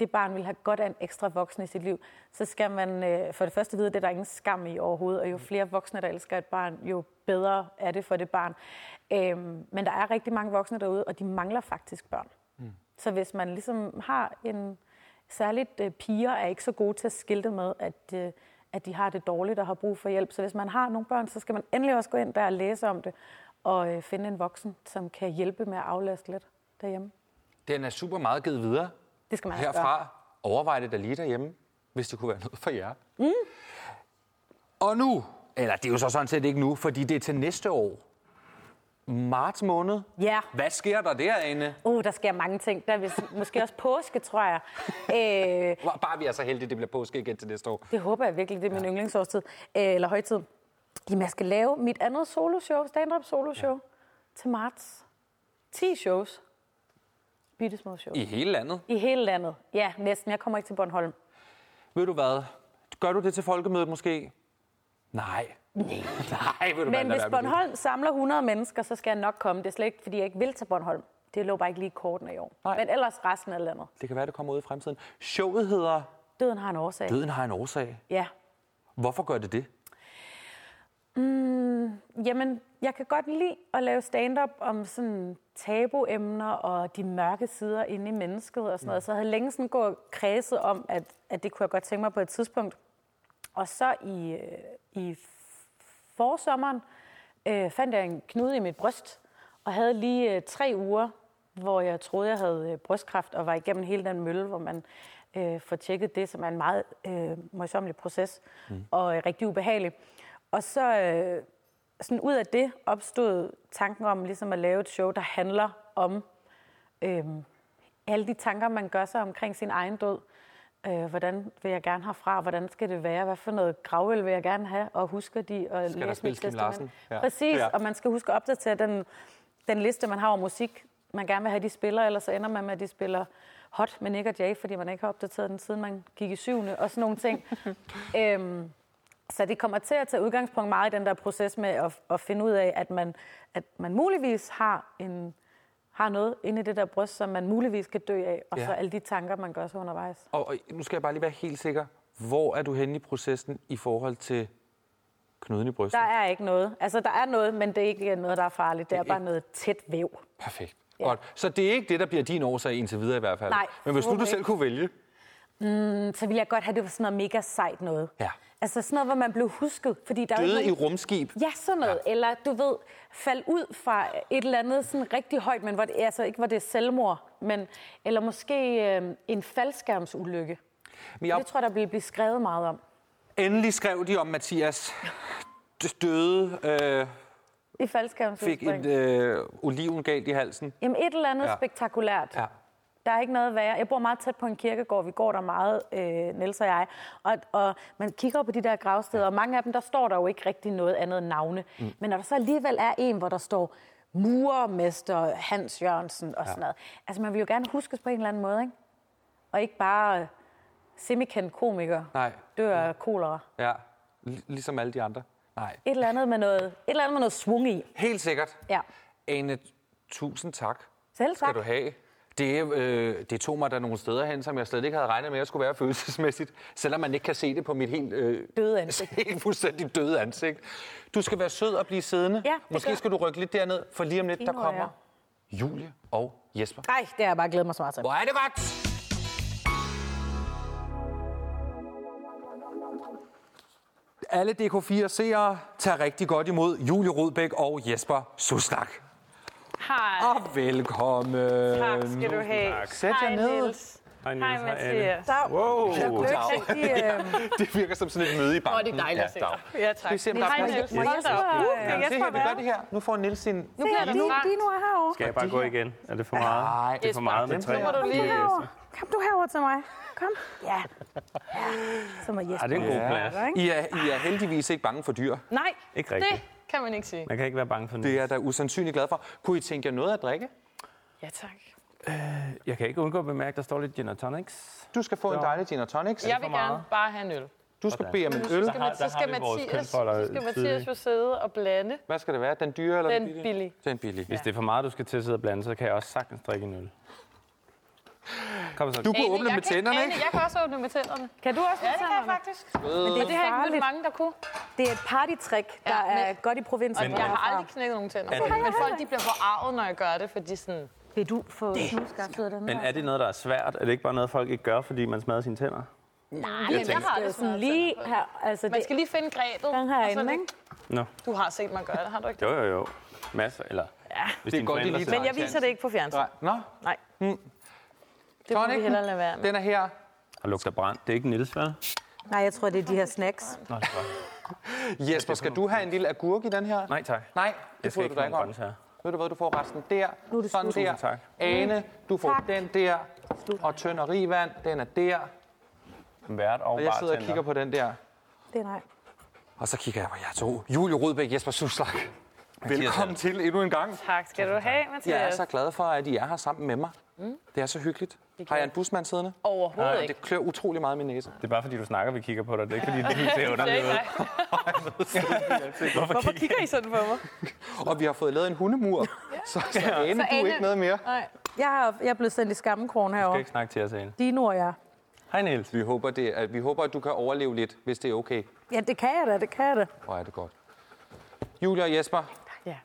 S2: det barn vil have godt af en ekstra voksen i sit liv, så skal man øh, for det første vide, at det er der ingen skam i overhovedet, og jo flere voksne, der elsker et barn, jo bedre er det for det barn. Øhm, men der er rigtig mange voksne derude, og de mangler faktisk børn. Mm. Så hvis man ligesom har en... Særligt øh, piger er ikke så gode til at skilte med, at, øh, at de har det dårligt og har brug for hjælp. Så hvis man har nogle børn, så skal man endelig også gå ind der og læse om det, og øh, finde en voksen, som kan hjælpe med at aflaste lidt derhjemme.
S1: Den er super meget givet videre.
S2: Det skal man altså gøre.
S1: Herfra overvej det da lige derhjemme, hvis det kunne være noget for jer. Mm. Og nu, eller det er jo så sådan set ikke nu, fordi det er til næste år. Marts måned.
S2: Ja.
S1: Hvad sker der derinde?
S2: Uh, der sker mange ting. Der er vist, *laughs* måske også påske, tror jeg. Øh,
S1: Bare vi er så heldige, det bliver påske igen til næste år.
S2: det håber jeg virkelig, det er min ja. yndlingsårstid. Øh, eller højtid. Jamen, jeg skal lave mit andet soloshow, stand-up soloshow, ja. til marts. 10 shows. Bittesmå shows. I.
S1: I hele landet.
S2: I hele landet. Ja, næsten. Jeg kommer ikke til Bornholm.
S1: Ved du hvad? Gør du det til folkemødet måske? Nej. Nej. *laughs* Nej, vil du hvad,
S2: Men
S1: lad være
S2: hvis
S1: med det.
S2: Bornholm samler 100 mennesker, så skal jeg nok komme. Det er slet ikke, fordi jeg ikke vil til Bornholm. Det lå bare ikke lige i kortene i år.
S1: Nej.
S2: Men ellers resten af landet.
S1: Det kan være, det kommer ud i fremtiden. Showet hedder
S2: Døden har en årsag.
S1: Døden har en årsag.
S2: Ja,
S1: Hvorfor gør det det?
S2: Jamen, jeg kan godt lide at lave stand-up om sådan tabuemner og de mørke sider inde i mennesket og sådan noget. Så jeg havde længe sådan gået og kredset om, at, at det kunne jeg godt tænke mig på et tidspunkt. Og så i, øh, i f- forsommeren øh, fandt jeg en knude i mit bryst, og havde lige øh, tre uger, hvor jeg troede, jeg havde øh, brystkræft, og var igennem hele den mølle, hvor man øh, får tjekket det, som er en meget øh, møjsommelig proces, mm. og øh, rigtig ubehagelig. Og så øh, sådan ud af det opstod tanken om ligesom at lave et show, der handler om øhm, alle de tanker, man gør sig omkring sin egen død. Øh, hvordan vil jeg gerne herfra? Hvordan skal det være? Hvad for noget gravøl vil jeg gerne have? Og husker de at skal
S1: der spille Kim Larsen?
S2: Ja.
S1: Ja.
S2: Præcis,
S1: Ja.
S2: og man skal huske at opdatere den, den liste, man har over musik, man gerne vil have, de spiller, ellers så ender man med, at de spiller hot med Nick og Jay, fordi man ikke har opdateret den, siden man gik i syvende, og sådan nogle
S1: *laughs*
S2: ting. øhm, så det kommer til at tage udgangspunkt meget i den der proces med at, at finde ud af, at man, at man muligvis har, en, har noget inde i det der bryst, som man muligvis kan dø af, og ja.
S1: Ja.
S2: så alle de tanker, man gør sig undervejs.
S1: Og, og nu skal jeg bare lige være helt sikker. Hvor er du henne i processen i forhold til knuden i brystet?
S2: Der er ikke noget. Altså, der er noget, men det er ikke noget, der er farligt. Det er
S1: Det er
S2: bare noget tæt væv.
S1: Perfekt.
S2: Ja.
S1: Ja. Godt. Så det er ikke det, der bliver din årsag indtil videre i hvert fald.
S2: Nej,
S1: Men hvis nu du
S2: forhåbentlig
S1: selv kunne vælge.
S2: Mm, Så ville jeg godt have, det var sådan noget mega sejt noget.
S1: Ja.
S2: Altså sådan noget, hvor man blev husket, fordi der er jo
S1: Døde
S2: ikke
S1: i
S2: nogen-
S1: rumskib.
S2: Ja, sådan noget. Ja. Eller, du ved, fald ud fra et eller andet sådan rigtig højt, men hvor det, altså ikke hvor det er selvmord, men, eller måske øh, en faldskærmsulykke.
S1: Men jeg
S2: Det tror jeg, der ville blive skrevet meget om.
S1: endelig skrev de om
S2: *laughs*
S1: Mathias d- døde, øh,
S2: I
S1: fik et
S2: faldskærmsudspring.
S1: øh, oliven galt i halsen.
S2: Jamen et eller andet ja.
S1: Ja.
S2: spektakulært.
S1: Ja.
S2: Der er ikke noget værre. Jeg bor meget tæt på en kirkegård. Vi går der meget, øh, Niels og jeg. Og, og man kigger på de der gravsteder, og mange af dem, der står der jo ikke rigtig noget andet end navne. Mm. Men når der så alligevel er en, hvor der står murermester Hans Jørgensen og sådan ja. noget. Altså man vil jo gerne huskes på en eller anden måde, ikke? Og ikke bare øh, semikendt komiker
S1: Nej.
S2: dør af kolera.
S1: Ja. Lig- Ligesom alle de andre. Nej.
S2: Et eller andet med noget, et eller andet med noget svung i.
S1: Helt sikkert.
S2: Ja.
S1: Ane, tusind tak.
S2: Selv tak.
S1: Skal du have. Det, øh, det tog mig der nogle steder hen, som jeg slet ikke havde regnet med, at jeg skulle være *laughs* følelsesmæssigt. Selvom man ikke kan se det på mit helt, øh,
S2: Døde ansigt.
S1: *laughs* helt fuldstændig døde ansigt. Du skal være sød og blive siddende.
S2: Ja, det gør
S1: Måske
S2: jeg.
S1: skal du rykke lidt derned, for lige om lidt,
S2: Endnu
S1: der
S2: er
S1: kommer Julie og Jesper.
S2: Nej, det har jeg bare glædet mig så meget til.
S1: Hvor er det godt! Alle DK4-seere tager rigtig godt imod Julie Rodbæk og Jesper Suslak.
S4: Hej.
S1: Og velkommen.
S4: Tak skal du have.
S1: øh, Sæt jer
S4: Hej,
S1: ned.
S4: Niels.
S5: Hej,
S4: Hej Niels, hej Anne.
S5: Mathias.
S2: Dag.
S4: Wow.
S2: Jeg kunne ikke
S1: Dag.
S2: rigtig... Øh,
S1: Det virker som sådan et møde i banken.
S6: Åh, det er dejligt at se dig.
S5: Ja, tak.
S1: Vi ser, om der
S5: Hej,
S1: er
S5: Niels.
S1: plads.
S5: Hold da op.
S2: Ja,
S5: Uh,
S2: ja,
S5: det er
S1: Se
S5: Jesper
S1: her, vi gør
S5: Berg.
S1: det her. Nu får Nils sin...
S2: nu bliver
S5: er
S2: det
S5: det
S2: Dino,
S5: langt.
S2: Dino er herovre.
S4: Skal jeg bare gå igen? Er det for meget?
S1: Nej,
S4: Det er for meget med
S1: Jesper,
S4: tre.
S1: nu må
S5: du
S2: Kom du
S5: lige-
S2: herover. Kom du herover til mig. Kom. Ja. ja. Så må
S4: Er
S2: Jesper.
S4: det er en god plads?
S1: I er, I er heldigvis ikke bange for dyr.
S5: Nej,
S4: Ikke
S5: det
S4: rigtigt.
S5: kan man ikke sige.
S4: Man kan ikke være bange for
S1: Det er
S4: Niels.
S1: jeg da usandsynligt glad for. Kunne I tænke jer noget at drikke?
S5: Ja, tak.
S4: Jeg kan ikke undgå at bemærke, at der står lidt gin og tonics.
S1: Du skal få en dejlig gin og tonics.
S5: Jeg vil gerne bare have en øl.
S1: Du skal bede om en øl.
S5: Så skal,
S4: har-
S5: man,
S4: der
S5: så skal,
S4: har vi vores
S5: Mathias,
S4: kønsroller
S5: så skal Mathias
S4: tidligt.
S5: jo sidde og blande
S1: Hvad skal det være? Den dyre eller
S5: den billige.
S1: Den billige.
S4: Hvis det er for meget, du skal til at sidde og blande, så kan jeg også sagtens drikke en øl. Kom så.
S1: Du kunne
S5: Ane,
S1: åbne
S5: jeg
S1: med
S5: kan-
S1: tænderne,
S5: Ane,
S1: ikke?
S5: Jeg kan også åbne med tænderne.
S2: Kan du også
S5: Ja,
S2: fortælle
S5: det kan jeg
S2: mig?
S5: faktisk.
S2: Men det
S5: Og det har jeg ikke mødt
S2: farligt.
S5: mange, der kunne.
S2: Det er et partytrick, der
S5: Ja, men-
S2: er godt i provinsen.
S5: Jeg har aldrig knækket nogen tænder. Men folk de bliver forarvet, når jeg gør det, fordi sådan...
S2: Vil du få snuskaftet den
S4: Men er det noget, der er svært? Er det ikke bare noget, folk ikke gør, fordi man smadrer sine tænder?
S2: Nej, men jeg
S5: tænker-
S2: har det sådan lige her. Altså,
S5: Man
S2: det,
S5: skal lige finde grebet.
S2: den
S5: og sådan,
S2: herinde, ikke?
S4: Nå.
S5: Du har set mig gøre det, har du ikke det?
S4: Jo, jo, jo. Masser, eller... Ja, hvis
S1: Det er
S4: dine
S1: godt, de
S4: forældre
S1: lige
S4: sidder-
S1: tager en chance.
S5: det ikke på fjernsyn.
S1: Nej. Nå,
S5: Nej. Det må vi
S1: tonicen,
S5: hellere lade være med.
S1: den er her.
S4: Og lugter brand. Det er ikke Niels, vel?
S2: Nej, jeg tror, det er de her snacks.
S4: Nå, det er godt.
S1: Jesper, skal du have en lille agurk i den her?
S4: Nej, tak.
S1: Nej,
S4: Jeg
S1: det får
S4: skal
S1: du
S4: ikke
S1: da
S4: have
S1: ikke
S4: nogen
S1: om.
S4: grøntsager.
S1: Ved du hvad, du får resten der,
S2: Nu er det
S1: sådan
S2: slut.
S1: der.
S4: Tusind tak.
S1: Ane, du får
S2: Tak.
S1: den der, og tønderivand, den er der.
S4: Vært og,
S1: Og jeg sidder og kigger på den der.
S2: Det er nej.
S1: Og så kigger jeg på jer to. Julie Rødbæk, Jesper Suslak. Velkommen til endnu en gang.
S5: Tak skal du have,
S1: Jeg er
S5: Mathias.
S1: så glad for, at I er her sammen med mig. Det er så hyggeligt. Har jeg en busmand siddende?
S5: Overhovedet ikke.
S1: Det klør utrolig meget i min næse.
S4: Det er bare fordi, du snakker, vi kigger på dig. Det er ikke fordi, det ser underligt *laughs* ud.
S5: Hvorfor kigger I sådan på mig?
S1: Og vi har fået lavet en hundemur. Så, så Ane, du er
S5: Ane-
S1: ikke med mere.
S2: Jeg, har, jeg er blevet sendt i skammekrogen
S4: Du skal
S2: herovre.
S4: ikke snakke til os, Ane.
S2: Dino og jeg.
S4: Hej, Niels.
S1: Vi håber, det, at vi håber, at du kan overleve lidt, hvis det er okay.
S2: Ja, det kan jeg da, det kan jeg da.
S1: Hvor er det godt. Julia og Jesper.
S5: Ja.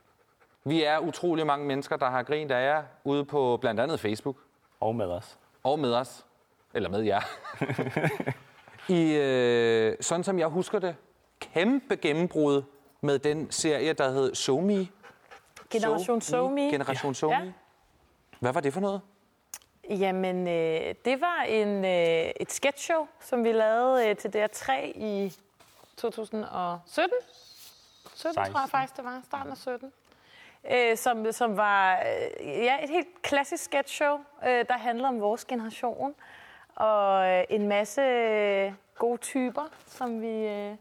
S1: Vi er utrolig mange mennesker, der har grint af jer ude på blandt andet Facebook.
S4: Og med os.
S1: Og med os. Eller med
S5: *laughs*
S1: jer. I, øh, sådan som jeg husker det, kæmpe gennembrud med den serie, der hed Somi.
S5: Generation SoMe.
S1: Generation Somi.
S5: Ja.
S1: Hvad var det for noget?
S5: Jamen, øh, det var en, øh, et sketchshow, som vi lavede øh, til DR3 i 2017. 17, tror jeg faktisk, det var. Starten af 17. Øh, som, som var øh, ja, et helt klassisk sketchshow, øh, der handler om vores generation. Og øh, en masse øh, gode typer, som vi øh,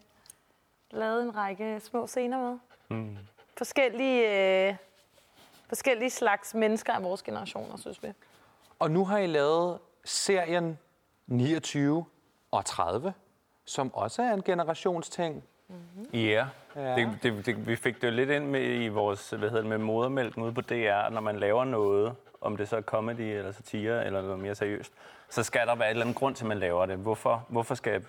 S5: lavede en række små scener med. Mm. Forskellige, øh, forskellige slags mennesker af vores generationer, synes vi.
S1: Og nu har I lavet serien 29 og 30, som også er en generationsting.
S4: Yeah. Ja. Det, det, det, vi fik det jo lidt ind med i vores, hvad hedder det, med modermælken ude på DR, når man laver noget, om det så er comedy eller satire eller noget mere seriøst, så skal der være et eller andet grund til, at man laver det. Hvorfor, hvorfor skal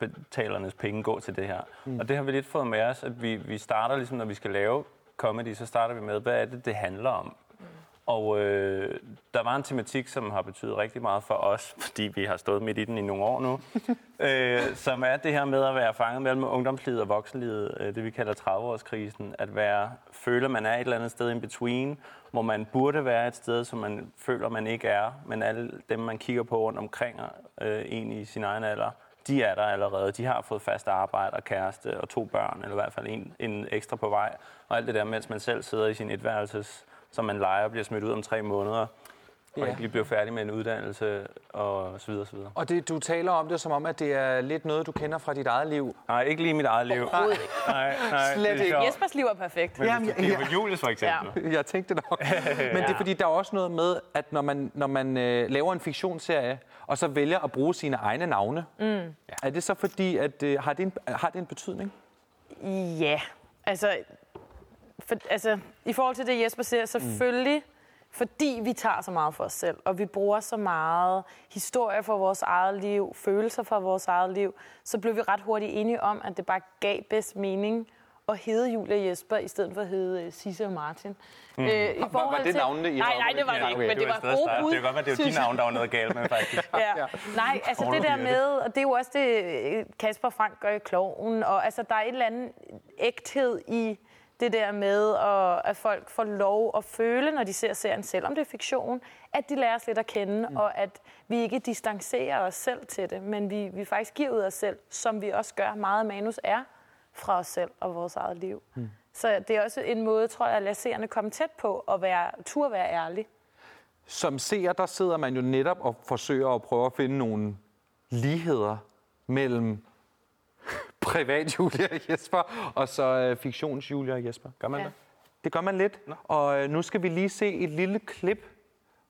S4: licensbetalernes penge gå til det her? Mm. Og det har vi lidt fået med os, at vi, vi starter ligesom, når vi skal lave comedy, så starter vi med, hvad er det, det handler om? Og øh, der var en tematik, som har betydet rigtig meget for os, *laughs* fordi vi har stået midt i den i nogle år nu, øh, som er det her med at være fanget mellem ungdomslivet og voksenlivet, øh, det vi kalder 30-årskrisen, at være, føle, man er et eller andet sted in between, hvor man burde være et sted, som man føler, man ikke er, men alle dem, man kigger på rundt omkring øh, en i sin egen alder, de er der allerede. De har fået fast arbejde og kæreste og to børn, eller i hvert fald en, en ekstra på vej. Og alt det der, mens man selv sidder i sin etværelses som man leger og bliver smidt ud om tre måneder, og
S1: Ja.
S4: ikke lige bliver færdig med en uddannelse, og så videre, så videre.
S1: Og det, du taler om det, som om, at det er lidt noget, du kender fra dit eget liv.
S4: Nej, ikke lige mit eget liv. Nej, nej, nej
S1: Slet ikke.
S5: Jespers liv er perfekt.
S4: Men
S1: Jamen,
S4: Jamen,
S1: jeg-
S4: jeg, det er jo Julius for eksempel.
S1: *laughs* Jeg tænkte nok. Men det er fordi, der er også noget med, at når man, når man øh, laver en fiktionsserie, og så vælger at bruge sine egne navne, mm. er det så fordi, at øh, har, det en, har det en betydning?
S5: Ja, altså, for, altså i forhold til det, Jesper siger, selvfølgelig, mm. fordi vi tager så meget for os selv, og vi bruger så meget historie fra vores eget liv, følelser fra vores eget liv, så blev vi ret hurtigt enige om, at det bare gav bedst mening at hedde Julia Jesper, i stedet for at hedde øh, Sisse og Martin. Mm. Øh, i
S1: var
S5: forhold
S1: det navnene, I
S5: Nej,
S1: havde
S5: nej, det var det
S1: opgivet?
S5: ikke,
S1: Okay,
S5: men det var
S4: stadig
S5: gode
S4: start.
S5: bud.
S4: Det kan godt være, det er jo
S5: synes
S4: dine navn, der var noget galt med, faktisk.
S5: ja. Nej, altså det der med, og det er jo også det, øh, Kasper Frank gør i Kloven, og altså der er et eller andet ægthed i det der med, at, at folk får lov at føle, når de ser serien, selvom det er fiktion, at de lærer os lidt at kende, mm. og at vi ikke distancerer os selv til det, men vi, vi faktisk giver ud af os selv, som vi også gør meget af manus er, fra os selv og vores eget liv. Mm. Så det er også en måde, tror jeg, at lade seerne komme tæt på og være, tur være ærlig.
S1: Som seer, der sidder man jo netop og forsøger at prøve at finde nogle ligheder mellem *laughs* privat Julia og Jesper, og så øh, fiktions Julia og Jesper. Gør man
S5: Ja.
S1: ja. det? Det gør man lidt, og øh, nu skal vi lige se et lille klip,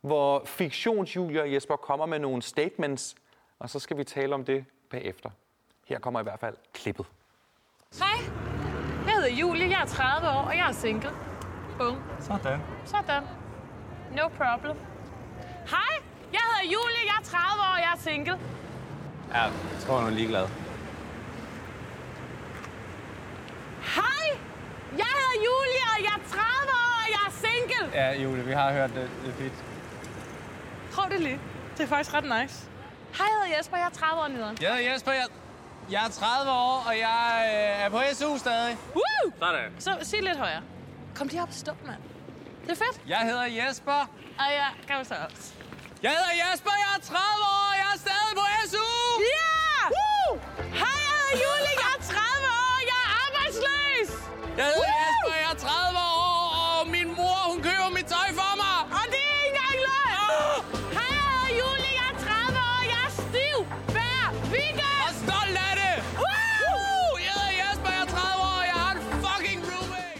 S1: hvor fiktions Julia og Jesper kommer med nogle statements, og så skal vi tale om det bagefter. Her kommer i hvert fald klippet.
S5: Hej, jeg hedder Julie, jeg er 30 år, og jeg er single. Bum.
S4: Sådan.
S5: Sådan. No problem. Hej, jeg hedder Julie, jeg er 30 år, og jeg er single.
S4: Ja, jeg tror, hun er ligeglad.
S5: Hej, jeg hedder Julie, og jeg er 30 år, og jeg er single.
S4: Ja, Julie, vi har hørt det. Det er fedt.
S5: Prøv det lige. Det er faktisk ret nice. Hej, jeg hedder Jesper, jeg er 30 år nederen.
S6: Jeg hedder Jesper, jeg, jeg er 30 år, og jeg øh, er på SU stadig.
S5: Woo!
S4: Sådan.
S5: Så sig lidt højere. Kom lige op og stå, mand. Det er fedt.
S6: Jeg hedder Jesper.
S5: Og jeg kan så også.
S6: Jeg hedder Jesper, jeg er 30 år, og jeg er stadig på SU!
S5: Ja! Woo! Hej, jeg hedder Julie, jeg er 30 år, jeg er arbejdsløs!
S6: Jeg hedder Jesper, jeg er 30 år, og min mor, hun køber mit tøj for mig! Ah!
S5: Og det er ikke engang løgn! Hej, jeg hedder Julie, jeg er 30 år, jeg er stiv hver
S6: Og
S5: weekend!
S6: stolt af det!
S5: Woo!
S6: Jeg hedder Jesper, jeg er 30 år, og jeg har en fucking roommate!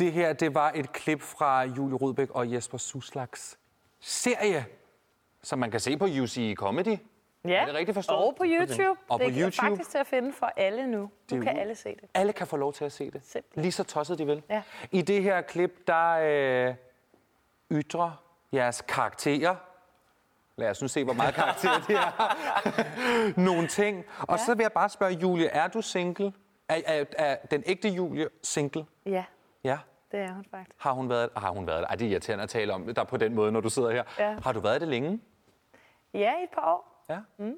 S1: Det her, det var et klip fra Julie Rudbæk og Jesper Suslaks serie, som man kan se på UCI Comedy.
S5: Ja,
S1: Er det rigtigt forstået?
S5: og på YouTube.
S1: Og på
S5: det er
S1: YouTube.
S5: faktisk til at finde for alle nu. Nu
S1: er
S5: kan
S1: u-
S5: alle se det.
S1: Alle kan få lov til at se det.
S5: Simpelthen.
S1: Lige så tosset de vil.
S5: Ja.
S1: I det her klip, der øh, ytrer jeres karakterer. Lad os nu se, hvor meget karakterer de har. *laughs* Nogle ting. Og så vil jeg bare spørge, Julie, er du single? Er, er, er den ægte Julie single?
S5: Ja,
S1: Ja.
S5: det er hun faktisk.
S1: Har hun været Har hun været Ej, det er irriterende at tale om det der på den måde, når du sidder her.
S5: Ja.
S1: Har du været det længe?
S5: Ja, i et par år.
S1: Ja. Mm.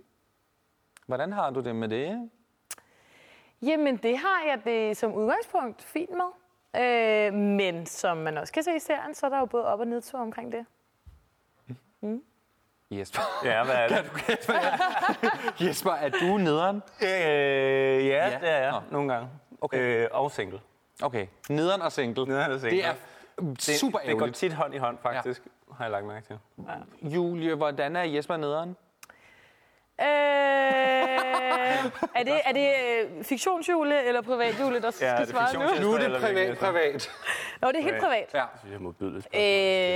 S1: Hvordan har du det med det?
S5: Jamen, det har jeg det som udgangspunkt fint med. Øh, men som man også kan se i serien, så er der jo både op- og nedtur omkring det. *laughs*
S1: Jesper.
S4: Ja, hvad er det?
S1: Jesper, er du nederen?
S4: Øh, ja,
S1: Ja.
S4: ja, det er jeg.
S1: Nå.
S4: Nogle gange.
S1: Okay.
S4: Øh, og single.
S1: Okay, nederen og single.
S4: Nederen og single.
S1: Det er det, super
S4: Det går
S1: ærgerligt.
S4: tit hånd i hånd, faktisk. Ja. Har jeg lagt mærke til.
S1: Julie, hvordan er Jesper nederen?
S5: Øh, er det, er det øh, fiktionsjule eller privatjule, der
S4: det er
S5: skal svare nu?
S4: fiktionsjule. Nu er det privat,
S1: privat.
S5: Nå, det er helt privat.
S1: Ja.
S4: Jeg synes, jeg må byde lidt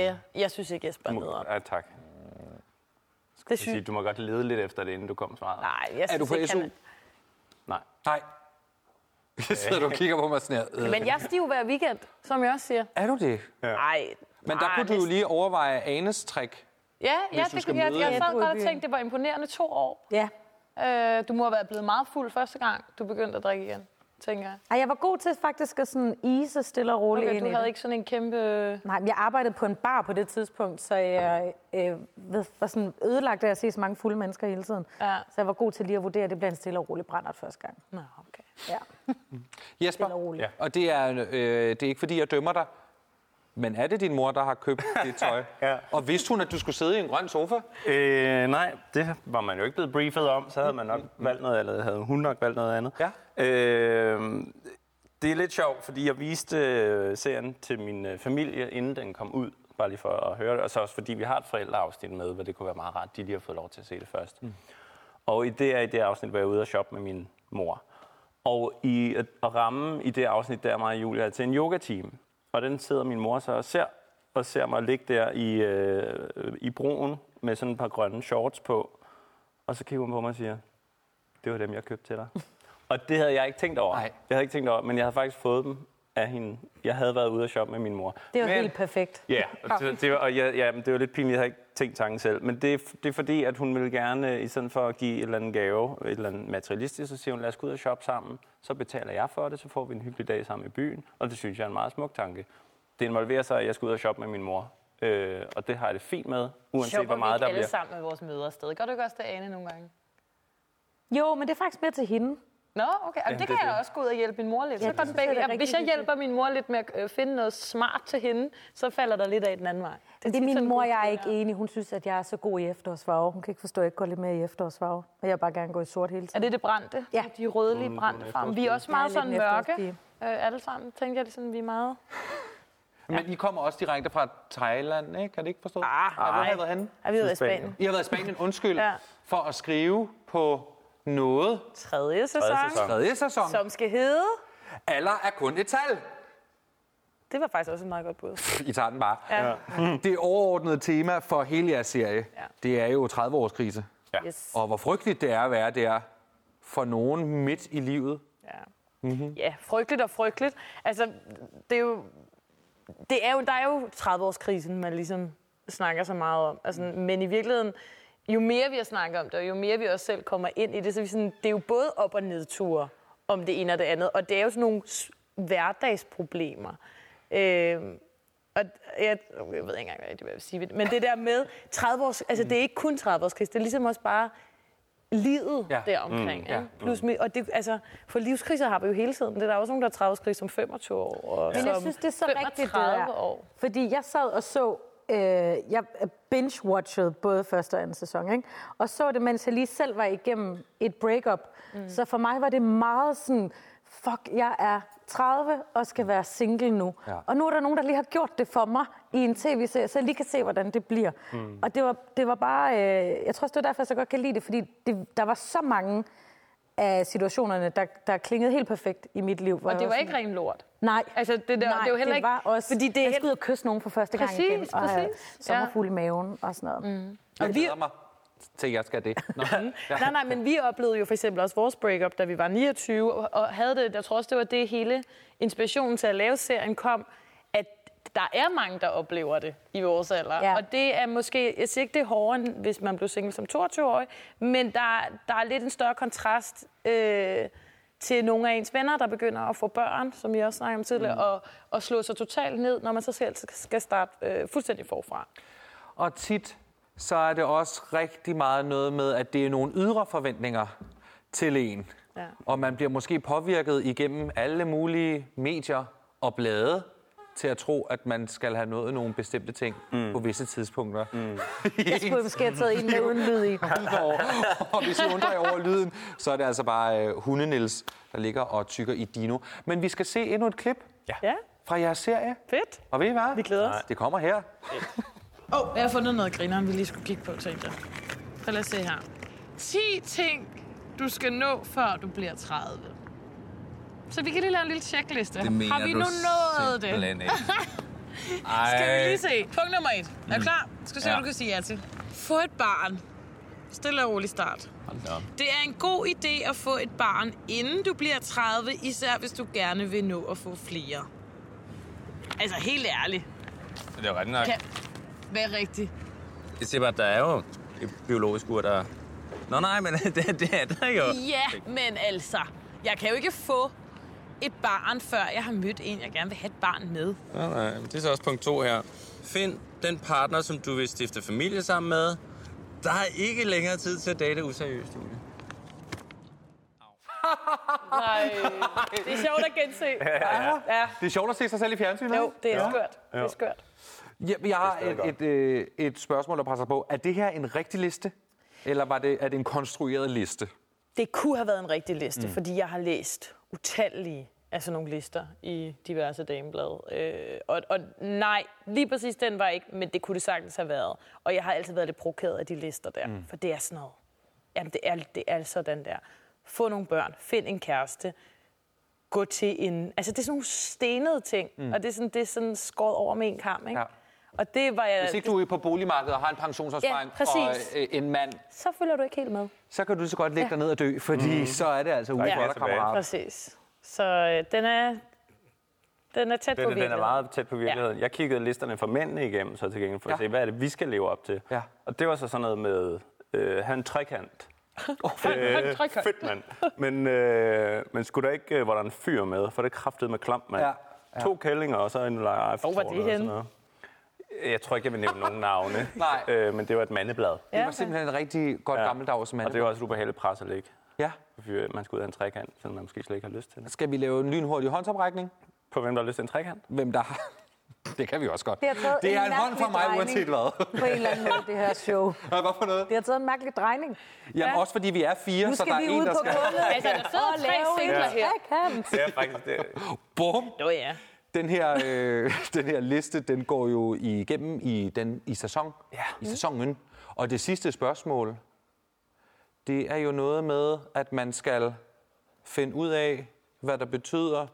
S5: Øh, jeg synes ikke, Jesper er
S4: spørgsmål.
S5: nederen.
S4: Ja, tak. Jeg
S5: Det
S4: vil sige,
S5: synes
S4: du må godt lede lidt efter det, inden du kommer svaret.
S5: Nej, jeg synes
S1: Er du på
S5: ikke,
S1: SU?
S5: han
S4: Nej.
S1: Nej. *laughs* Jeg sidder du og kigger på mig sådan her. Øh,
S5: Men jeg er stiv hver weekend, som jeg også siger.
S1: Er du det?
S5: Nej.
S1: Men der kunne du jo lige overveje Anes trick.
S5: Ja, ja
S1: du
S5: det,
S1: skal
S5: kunne jeg,
S1: møde
S5: jeg
S1: en-
S5: sad godt og tænkte, det var imponerende to år.
S2: Ja.
S5: Øh, du må have været blevet meget fuld første gang, du begyndte at drikke igen, tænker jeg.
S2: Ej, jeg var god til faktisk at sådan ise stille og roligt
S5: Okay,
S2: ind
S5: du
S2: i
S5: havde
S2: det.
S5: ikke sådan en kæmpe...
S2: Nej, men jeg arbejdede på en bar på det tidspunkt, så jeg øh, ved, var sådan ødelagt af at se så mange fulde mennesker hele tiden.
S5: Ja.
S2: Så jeg var god til lige at vurdere, at det bliver en stille og rolig brændert første gang.
S5: Nå, okay.
S2: Ja.
S1: Jesper,
S2: Stille og roligt. Ja.
S1: og det er, øh, det er ikke fordi, jeg dømmer dig, men er det din mor, der har
S4: *laughs*
S1: købt det tøj?
S4: Ja.
S1: Og vidste hun, at du skulle sidde i en grøn sofa?
S4: Øh, nej, det var man jo ikke blevet briefet om. Så havde man nok valgt noget andet. Havde hun nok valgt noget andet.
S1: Ja.
S4: Øh, det er lidt sjovt, fordi jeg viste øh, serien til min øh, familie, inden den kom ud. Bare lige for at høre det. Og så også fordi vi har et forældreafsnit med, hvor det kunne være meget rart, de lige har fået lov til at se det først. Mm. Og i det, i det afsnit var jeg ude og shoppe med min mor. Og i at at ramme i det afsnit, der er mig og Julia til en yoga-team. Og den sidder min mor så og ser, og ser mig ligge der i, øh, i broen med sådan et par grønne shorts på. Og så kigger hun på mig og siger, det var dem, jeg købte til dig. og det havde jeg ikke tænkt over.
S1: Nej.
S4: Jeg havde ikke tænkt over, men jeg havde faktisk fået dem af hende. Jeg havde været ude og shoppe med min mor.
S2: Det var
S4: men,
S2: helt perfekt.
S4: Ja, og det, det, var, og ja, ja, men det var lidt pinligt, jeg havde ikke tænkt tanken selv. Men det, er f- det er fordi, at hun ville gerne, i stedet for at give et eller andet gave, et eller andet materialistisk, så siger hun, lad os gå ud og shoppe sammen. Så betaler jeg for det, så får vi en hyggelig dag sammen i byen. Og det synes jeg er en meget smuk tanke. Det involverer sig, at jeg skal ud og shoppe med min mor. Øh, og det har jeg det fint med, uanset hvor meget der bliver.
S5: sammen med vores møder afsted. Gør du ikke også det, Ane, nogle gange?
S2: Jo, men det er faktisk mere til hende.
S5: Nå, okay. Jamen, det
S4: det
S5: kan
S4: er
S5: jeg
S4: det.
S5: også gå ud og hjælpe min mor lidt.
S2: Ja,
S5: Ja, så
S2: det
S5: går den
S2: synes jeg,
S5: begge.
S2: det er
S5: Jeg, hvis
S2: rigtig
S5: jeg hjælper min mor lidt med at øh, finde noget smart til hende, så falder der lidt af den anden vej.
S2: Det er
S5: tit sådan,
S2: min mor,
S5: det
S2: jeg er
S5: fungerer.
S2: ikke enig. Hun synes, at jeg er så god i efterårsfarve. Hun kan ikke forstå, at jeg ikke går lidt mere i efterårsfarve. Og jeg vil bare gerne gå i sort hele
S5: Er
S2: tiden.
S5: det det brændte?
S2: Ja.
S5: De rødlige brændte farver. Vi er også meget
S2: Jeg er
S5: sådan
S2: lidt en
S5: mørke. Øh,
S2: efterårspige.
S5: alle sammen, tænker jeg, sådan, vi er meget...
S1: Men I kommer også direkte fra Thailand, ikke? Har det ikke forstået? Ah, Hvor har I været henne?
S5: Er vi ude af Spanien?
S1: I har været i Spanien, undskyld,
S5: Ja.
S1: ja. for at skrive på noget.
S5: Tredje sæson, Tredje sæson,
S1: Tredje sæson.
S5: som skal hedde...
S1: Alder er kun et tal.
S5: Det var faktisk også et meget godt bud.
S1: I tager den bare.
S5: Ja.
S1: Det overordnede tema for hele jeres serie,
S5: Ja.
S1: ja. det er jo 30-årskrise.
S5: Yes.
S1: Og hvor frygteligt det er at være der for nogen midt i livet.
S5: Ja. Mm-hmm. ja, frygteligt og frygteligt. Altså, det er jo, det er jo, der er jo 30-årskrisen, man ligesom snakker så meget om. Altså, men i virkeligheden, jo mere vi har snakket om det, og jo mere vi også selv kommer ind i det, så er vi sådan, det er jo både op- og nedture om det ene og det andet. Og det er jo sådan nogle s- hverdagsproblemer. Øh, og jeg, jeg ved ikke engang rigtig, hvad jeg vil sige. ved det. Men det der med 30 års, altså det er ikke kun 30 års kris, det er ligesom også bare livet ja.
S1: Ja.
S5: deromkring. Mm, ja. Plus, mi- og det, altså, for livskriser har vi jo hele tiden. Det er der også nogen, der er 30 års kris som 25 år. Og
S2: Men
S5: som
S2: jeg synes, det er så rigtigt, det
S5: 35
S2: der.
S5: År.
S2: Fordi jeg sad og så... Øh, jeg binge-watchede både første og anden sæson, ikke? Og så det, mens jeg lige selv var igennem et breakup. Mm. Så for mig var det meget sådan... Fuck, jeg er 30 og skal være single nu. Ja. Og nu er der nogen, der lige har gjort det for mig i en tv-serie, så jeg lige kan se, hvordan det bliver. Mm. Og det var, det var bare... Øh, jeg tror også, det var derfor, jeg så godt kan lide det, fordi det, der var så mange af situationerne, der, der klingede helt perfekt i mit liv. hvor
S5: Og
S2: jeg
S5: det var
S2: sådan-
S5: ikke ren lort.
S2: Nej,
S5: Altså, det der- det er
S2: Nej,
S5: jo heller
S2: det
S5: ikke-
S2: var også,
S5: fordi
S2: fordi
S5: det er
S2: det jeg
S5: helt-
S2: skulle ud og kysse nogen for første gang
S5: Præcis,
S2: igen, og have
S5: præcis, ja.
S2: sommerfugl i maven og sådan noget. Mm.
S1: Jeg glæder mig til, at jeg skal det. Nå.
S5: Ja. Nej, nej, men vi oplevede jo for eksempel også vores breakup, da vi var 29, og- og havde det, jeg tror også, det var det hele inspirationen til at lave serien kom, at der er mange, der oplever det i vores alder. Ja.
S2: Ja.
S5: Og det er måske, jeg siger ikke, det er hårdere, end hvis man blev single som 22-årig, men der, der er lidt en større kontrast øh, til nogle af ens venner, der begynder at få børn, som vi også snakkede om tidligere, mm. og, og slå sig totalt ned, når man så selv skal starte øh, fuldstændig forfra.
S1: Og tit, så er det også rigtig meget noget med, at det er nogle ydre forventninger til en.
S5: Ja.
S1: Og man bliver måske påvirket igennem alle mulige medier og blade til at tro, at man skal have nået nogle bestemte ting mm. på visse tidspunkter. *laughs* Mm.
S2: Jeg skulle måske have taget en med uden lyd i.
S1: og hvis I undrer jer over lyden, så er det altså bare øh, hundenils, der ligger og tykker i Dino. Men vi skal se endnu et klip
S5: Ja,
S1: fra jeres serie.
S5: fedt.
S1: Og ved I hvad? Vi
S5: glæder os.
S1: Det kommer her.
S5: Åh, oh, jeg har fundet noget grineren, vi lige skulle kigge på, tænkte jeg. Så lad os se her.
S7: 10 ting, du skal nå, før du bliver 30. Så vi kan lige lave en lille checkliste. Har vi nu nået det? *laughs* Skal vi lige se. Punkt nummer et. Er du klar? Skal se, hvad du kan sige ja til. Få et barn. Stille og rolig start. Det er en god idé at få et barn, inden du bliver 30, især hvis du gerne vil nå at få flere. Altså, helt ærligt.
S4: Det er jo ret nok.
S7: Kan... Hvad er rigtigt?
S4: Jeg siger bare, at der er jo et biologisk ur, der... Nå nej, men *laughs* det, det er der jo.
S7: Ja, men altså, jeg kan jo ikke få et barn, før jeg har mødt en, jeg gerne vil have et barn med.
S4: Nå, nej. men Det er så også punkt to her. Find den partner, som du vil stifte familie sammen med. Der er ikke længere tid til at date useriøst, Julie.
S5: Nej, det er sjovt at gense. Ja, ja.
S1: Det er sjovt at se sig selv i fjernsynet.
S5: Jo, det er skørt. Det er skørt.
S1: Ja, jeg har et, et, øh, et spørgsmål, der presser på. Er det her en rigtig liste? Eller var det, er det en konstrueret liste?
S5: Det kunne have været en rigtig liste, mm. fordi jeg har læst utallige af sådan nogle lister i diverse dameblade. Øh, og, og nej, lige præcis den var ikke, men det kunne det sagtens have været. Og jeg har altid været lidt provokeret af de lister der, mm. for det er sådan noget. Jamen, det er, det er sådan der. Få nogle børn, find en kæreste, gå til en... Altså, det er sådan nogle stenede ting, mm. og det er sådan, det er sådan skåret over med en kamp, ikke? Ja.
S1: Ja.
S5: Og det var jeg...
S1: Hvis ikke du er på boligmarkedet og har en pensionsopsparing
S5: Ja, præcis.
S1: og øh, en mand,
S5: Så følger du ikke helt med.
S1: så kan du lige så godt lægge dig ned og dø, fordi mm. så er det altså ude
S4: ikke
S1: for
S4: mere
S1: dig,
S4: tilbage.
S1: kammerat.
S5: Præcis. Så øh, den er... Den er tæt på
S4: Den, den er
S5: virkeligheden.
S4: meget tæt på virkeligheden. Ja. Jeg kiggede listerne for mændene igennem, så til gengæld for at se, hvad er det, vi skal leve op til.
S1: Ja.
S4: Og det var så sådan noget med, øh, have en trekant. Øh, fedt, mand. Men, øh, men skulle der ikke, øh, var der en fyr med, for det kraftede med klamp, mand.
S1: Ja,
S4: Ja. Ja. To kællinger, og så en live.
S5: Hvor var det henne?
S4: Jeg tror ikke, jeg vil nævne nogen navne.
S1: Nej.
S4: Øh, men det var et mandeblad.
S1: Det var simpelthen en rigtig godt ja. gammeldags mand.
S4: Og det var også et ubehageligt pres at lægge.
S1: Ja.
S4: Fordi øh, man skal ud af en trekant, selvom man måske slet ikke har lyst til det.
S1: Skal vi lave en lynhurtig håndsoprækning?
S4: På hvem der har lyst til en trekant?
S1: Hvem der har... *laughs* Det kan vi også godt.
S2: Det har taget
S1: det er
S2: en
S1: en hånd fra
S2: mærkelig
S1: mig,
S2: drejning.
S1: uanset hvad.
S2: På en eller anden måde, det her show.
S1: Hvad for noget?
S2: Det har taget en mærkelig drejning.
S1: Jamen, også fordi vi er fire,
S2: Nu
S1: så
S2: skal
S1: der er
S2: vi
S1: en,
S2: ud
S1: der
S2: på
S1: skal...
S2: gulvet
S5: Altså, der sidder
S2: og
S5: tre
S2: lave en
S5: singler her.
S2: trekant.
S4: Det er faktisk det.
S1: Bum!
S5: Nå ja.
S1: Den her, øh, *laughs* den her liste, den går jo igennem i, den, i, sæson, ja. i sæsonen. Og det sidste spørgsmål, det er jo noget med, at man skal finde ud af, hvad der betyder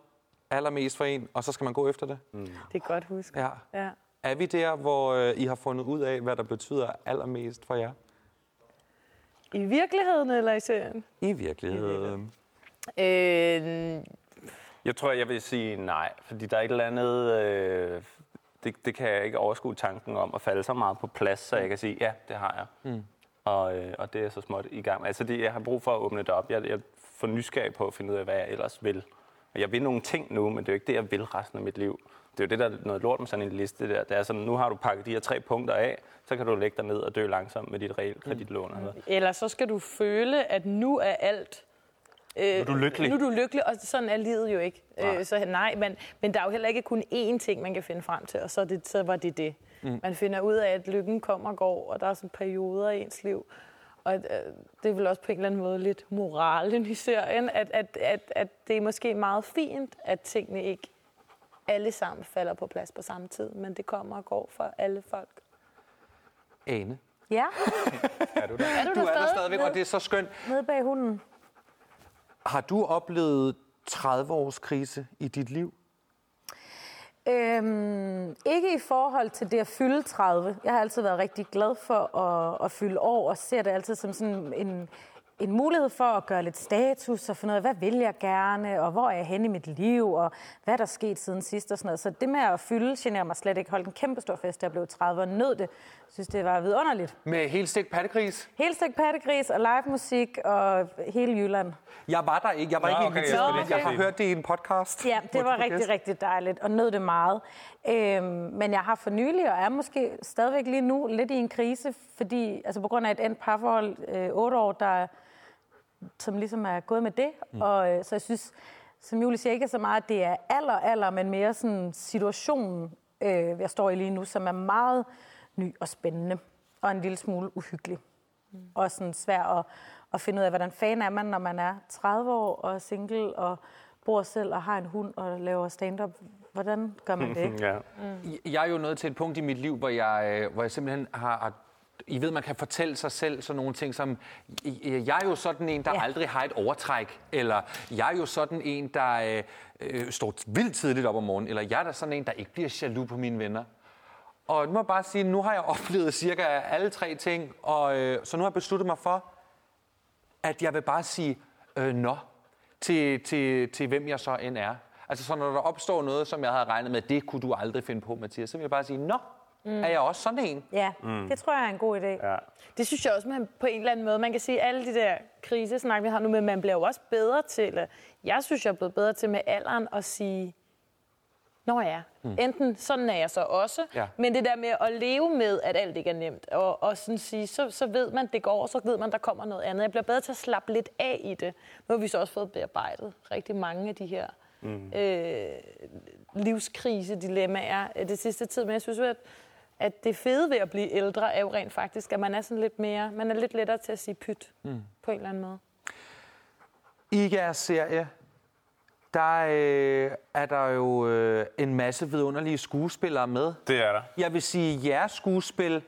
S1: allermest for en, og så skal man gå efter det.
S5: Det er godt huske.
S1: Ja.
S5: Ja.
S1: Er vi der, hvor øh, I har fundet ud af, hvad der betyder allermest for jer?
S5: I virkeligheden eller i serien?
S1: I virkeligheden.
S5: Øh,
S4: Jeg tror, jeg vil sige nej, fordi der er et eller andet... Øh, det, det kan jeg ikke overskue tanken om at falde så meget på plads, så jeg kan sige, ja, det har jeg. Mm. Og, øh, og det er så småt i gang. Altså, det, jeg har brug for at åbne det op. Jeg, jeg er for nysgerrig på at finde ud af, hvad jeg ellers vil. Og jeg vil nogle ting nu, men det er jo ikke det, jeg vil resten af mit liv. Det er jo det, der er noget lort med sådan en liste der. Det er sådan, nu har du pakket de her tre punkter af, så kan du lægge dig ned og dø langsomt med dit realkreditlån. Mm.
S5: eller så skal du føle, at nu er alt... Øh, nu er
S4: du lykkelig.
S5: Nu er du lykkelig, og sådan er livet jo ikke. Nej. Øh, så nej, men, men der er jo heller ikke kun én ting, man kan finde frem til, og så, er det, så var det det. Mm. Man finder ud af, at lykken kommer og går, og der er sådan perioder i ens liv. Og øh, det er vel også på en eller anden måde lidt moralen i serien, at, at, at, at det er måske meget fint, at tingene ikke alle sammen falder på plads på samme tid, men det kommer og går for alle folk.
S1: Ane.
S2: Ja,
S5: Er du,
S1: Du er der stadigvæk, og det er så skønt.
S2: nede bag hunden.
S1: Har du oplevet 30-års krise i dit liv?
S2: Øhm, ikke i forhold til det at fylde 30. Jeg har altid været rigtig glad for at, at fylde år, og ser det altid som sådan en, en mulighed for at gøre lidt status og finde ud af, hvad vil jeg gerne, og hvor er jeg henne i mit liv, og hvad er der sket siden sidst og sådan noget. Så det med at fylde generer mig slet ikke. Holdt en kæmpe stor fest, da jeg blev 30 og nød det. Jeg synes, det var vidunderligt.
S1: Med helt stik pattegris?
S2: Helt stik pattegris og live musik og hele Jylland.
S1: Jeg var der ikke. Jeg var
S4: Nå,
S1: ikke
S4: okay,
S1: inviteret,
S4: jeg
S1: men
S4: skal
S1: jeg har
S4: lige-
S1: hørt det i en podcast.
S2: Ja,
S1: hvor
S2: det
S1: du
S2: var
S1: var
S2: rigtig,
S1: gæst.
S2: rigtig dejligt, og nød det meget. Øhm, men jeg har for nylig, og er måske stadigvæk lige nu, lidt i en krise, fordi altså på grund af et endt parforhold, øh, otte år, der, som ligesom er gået med det. Mm. Og øh, så jeg synes, som Julie siger, ikke så meget, at det er alder, alder, men mere sådan situationen, øh, jeg står i lige nu, som er meget ny og spændende, og en lille smule uhyggelig. Mm. Og sådan svær at, at finde ud af, hvordan fan er man, når man er 30 år og er single og bor selv og har en hund og laver stand-up. Hvordan gør man det?
S4: *laughs*
S2: *laughs*
S4: Ja.
S1: Jeg er jo nået til et punkt i mit liv, hvor jeg, øh, hvor jeg simpelthen har... har- I ved, man kan fortælle sig selv sådan nogle ting som, "I- øh, jeg er jo sådan en, der
S2: Ja.
S1: ja. aldrig har et overtræk, eller jeg er jo sådan en, der øh, øh, står vildt tidligt op om morgenen, eller jeg er da sådan en, der ikke bliver jaloux på mine venner. Og nu må jeg bare sige, nu har jeg *laughs* oplevet cirka alle tre ting, og øh, så nu har jeg besluttet mig for, at jeg vil bare sige øh, nå til, til, til hvem jeg så end er. Altså så når der opstår noget, som jeg havde regnet med, det kunne du aldrig finde på, Mathias, så vil jeg bare sige, nå, mm. er jeg også sådan en?
S2: Ja, mm. det tror jeg er en god idé. Ja.
S5: Det synes jeg også, man på en eller anden måde, man kan sige, alle de der krisesnak, vi har nu med, man bliver jo også bedre til, eller jeg synes, jeg er blevet bedre til med alderen at sige, Nå ja, enten sådan er jeg så også,
S1: Ja.
S5: Mm. ja. men det der med at leve med, at alt ikke er nemt, og, og sådan sige, så, så ved man, det går, og så ved man, der kommer noget andet. Jeg bliver bedre til at slappe lidt af i det. Nu har vi så også fået bearbejdet rigtig mange af de her mm. øh, livskrise-dilemmaer øh, det sidste tid, men jeg synes jo, at, at det fede ved at blive ældre er jo rent faktisk, at man er sådan lidt mere, man er lidt lettere til at sige pyt mm. på en eller anden måde.
S1: I jeres serie, der øh, er der jo øh, en masse vidunderlige skuespillere med.
S4: Det er der.
S1: Jeg vil sige, jeres skuespil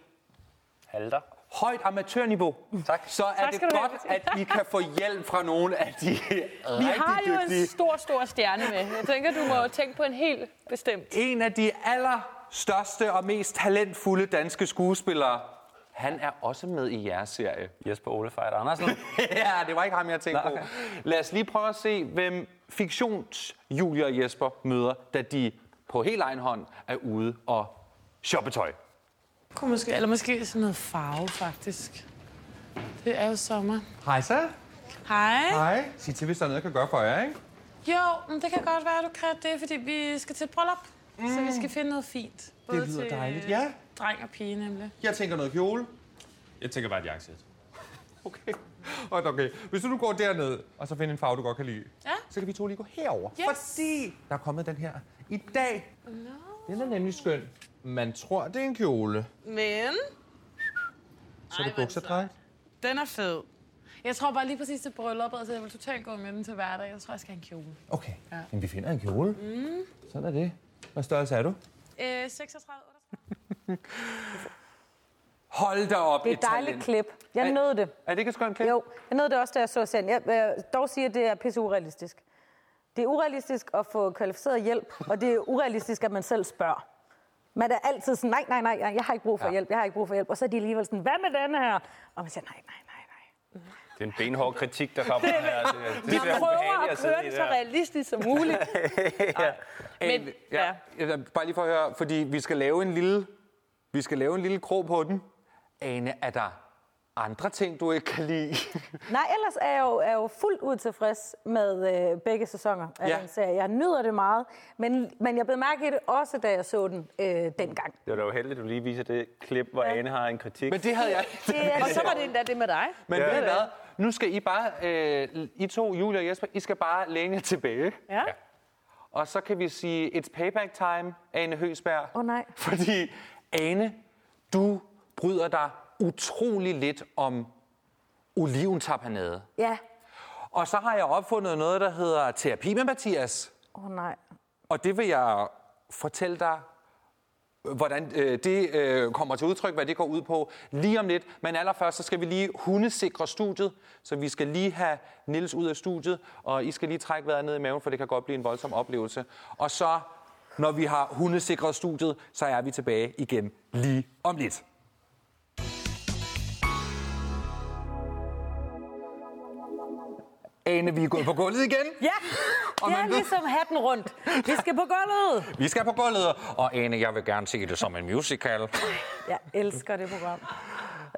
S4: Halter.
S1: højt amatørniveau. Tak. Så er
S5: Tak
S1: det
S5: skal du have,
S1: godt, at I kan få hjælp fra nogle af de
S5: Vi
S1: rigtig
S5: har jo
S1: dygtige.
S5: en stor, stor stjerne med. Jeg tænker, du må tænke på en helt bestemt.
S1: en af de allerstørste og mest talentfulde danske skuespillere. Han er også med i jeres serie.
S4: Jesper Ole Fejder Andersen.
S1: *laughs* ja, det var ikke ham, jeg tænkte
S4: Nå, okay.
S1: på. Lad os lige prøve at se, hvem fiktions-Julia og Jesper møder, da de på helt egen hånd er ude og shoppe tøj.
S7: Kunne måske, eller måske sådan noget farve, faktisk. Det er jo sommer.
S8: Hej så.
S7: Hej.
S8: Hej. Sig til, hvis der er noget, jeg kan gøre for jer, ikke?
S7: Jo, men det kan godt være, du kræver det, fordi vi skal til et bryllup. Mm. Så vi skal finde noget fint. Både
S8: lyder
S7: til øh,
S8: dejligt, ja.
S7: dreng og pige, nemlig.
S8: Jeg tænker noget kjole.
S9: Jeg tænker bare et jakkesæt.
S8: *laughs* Okay. Og Okay, hvis du nu går derned, og så finder en farve, du godt kan lide,
S7: Ja.
S8: så kan vi to lige gå herover.
S7: Yes.
S8: Fordi der er kommet den her i dag. No. Den er nemlig skøn. Man tror, det er en kjole.
S7: Men
S8: Så
S7: hvor er
S8: er det
S7: det
S8: buksedræk.
S7: den er fed. Jeg tror bare lige præcis til brylluppet, altså jeg vil totalt gå med den til hverdag. Jeg tror, jeg skal have en kjole.
S8: Okay, ja. Jamen, vi finder en kjole. Mm. Sådan er det. Hvad størrelse er du?
S7: Øh, 36, 38.
S1: Hold da op,
S2: Det er et dejligt klip. Jeg nød det.
S1: Er det ikke et skønt klip?
S2: Jo, jeg nød det også, da jeg så serien. Jeg øh, dog siger, at det er pisse urealistisk. Det er urealistisk at få kvalificeret hjælp, og det er urealistisk, at man selv spørger. Man er altid sådan, nej, nej, nej, nej, jeg har ikke brug for ja. hjælp, jeg har ikke brug for hjælp. Og så er de alligevel sådan, hvad med denne her? Og man siger, nej, nej, nej, nej.
S4: Det er en benhård kritik, der
S1: *laughs*
S4: kommer her. Det, det, det, det,
S5: Jeg prøver at køre det så
S4: rigtigt.
S5: realistisk som muligt.
S1: Men, ja. ja. Bare lige for at høre, fordi vi skal lave en lille, vi skal lave en lille krog på den. Ane, er der andre ting, du ikke kan lide?
S2: Nej, ellers er jeg jo, er jeg jo fuldt ud tilfreds med øh, begge sæsoner af
S1: Ja.
S2: ja. den serie. Jeg nyder det meget, men, men jeg blev mærke i det også, da jeg så den øh, dengang.
S4: Det var da uheldigt, at du lige viser det klip, hvor Ane har en kritik.
S1: *laughs* Men det havde jeg
S2: Det er
S5: Og så var det endda det med dig.
S1: Men ja. ved I hvad? Nu skal I bare, øh, I to, Julia og Jesper, I skal bare læne jer tilbage.
S5: Ja.
S1: Og så kan vi sige, it's payback time, Ane Høsberg.
S2: Åh, nej.
S1: Fordi, Ane, du bryder dig utrolig lidt om oliventapanade.
S2: Ja.
S1: Og så har jeg opfundet noget, der hedder terapi med Mathias.
S2: Åh oh, nej.
S1: Og det vil jeg fortælle dig, hvordan øh, det øh, kommer til udtryk, hvad det går ud på lige om lidt. Men allerførst, så skal vi lige hundesikre studiet, så vi skal lige have Nils ud af studiet, og I skal lige trække vejret ned i maven, for det kan godt blive en voldsom oplevelse. Og så, når vi har hundesikret studiet, så er vi tilbage igen lige om lidt. Ane, vi er gået på gulvet igen.
S2: Ja,
S1: Og
S2: det
S1: man
S2: er
S1: ved-
S2: ligesom hatten rundt. Vi skal på gulvet.
S1: Vi skal på gulvet, og Ane, jeg vil gerne se det som en musical.
S2: Jeg elsker det program.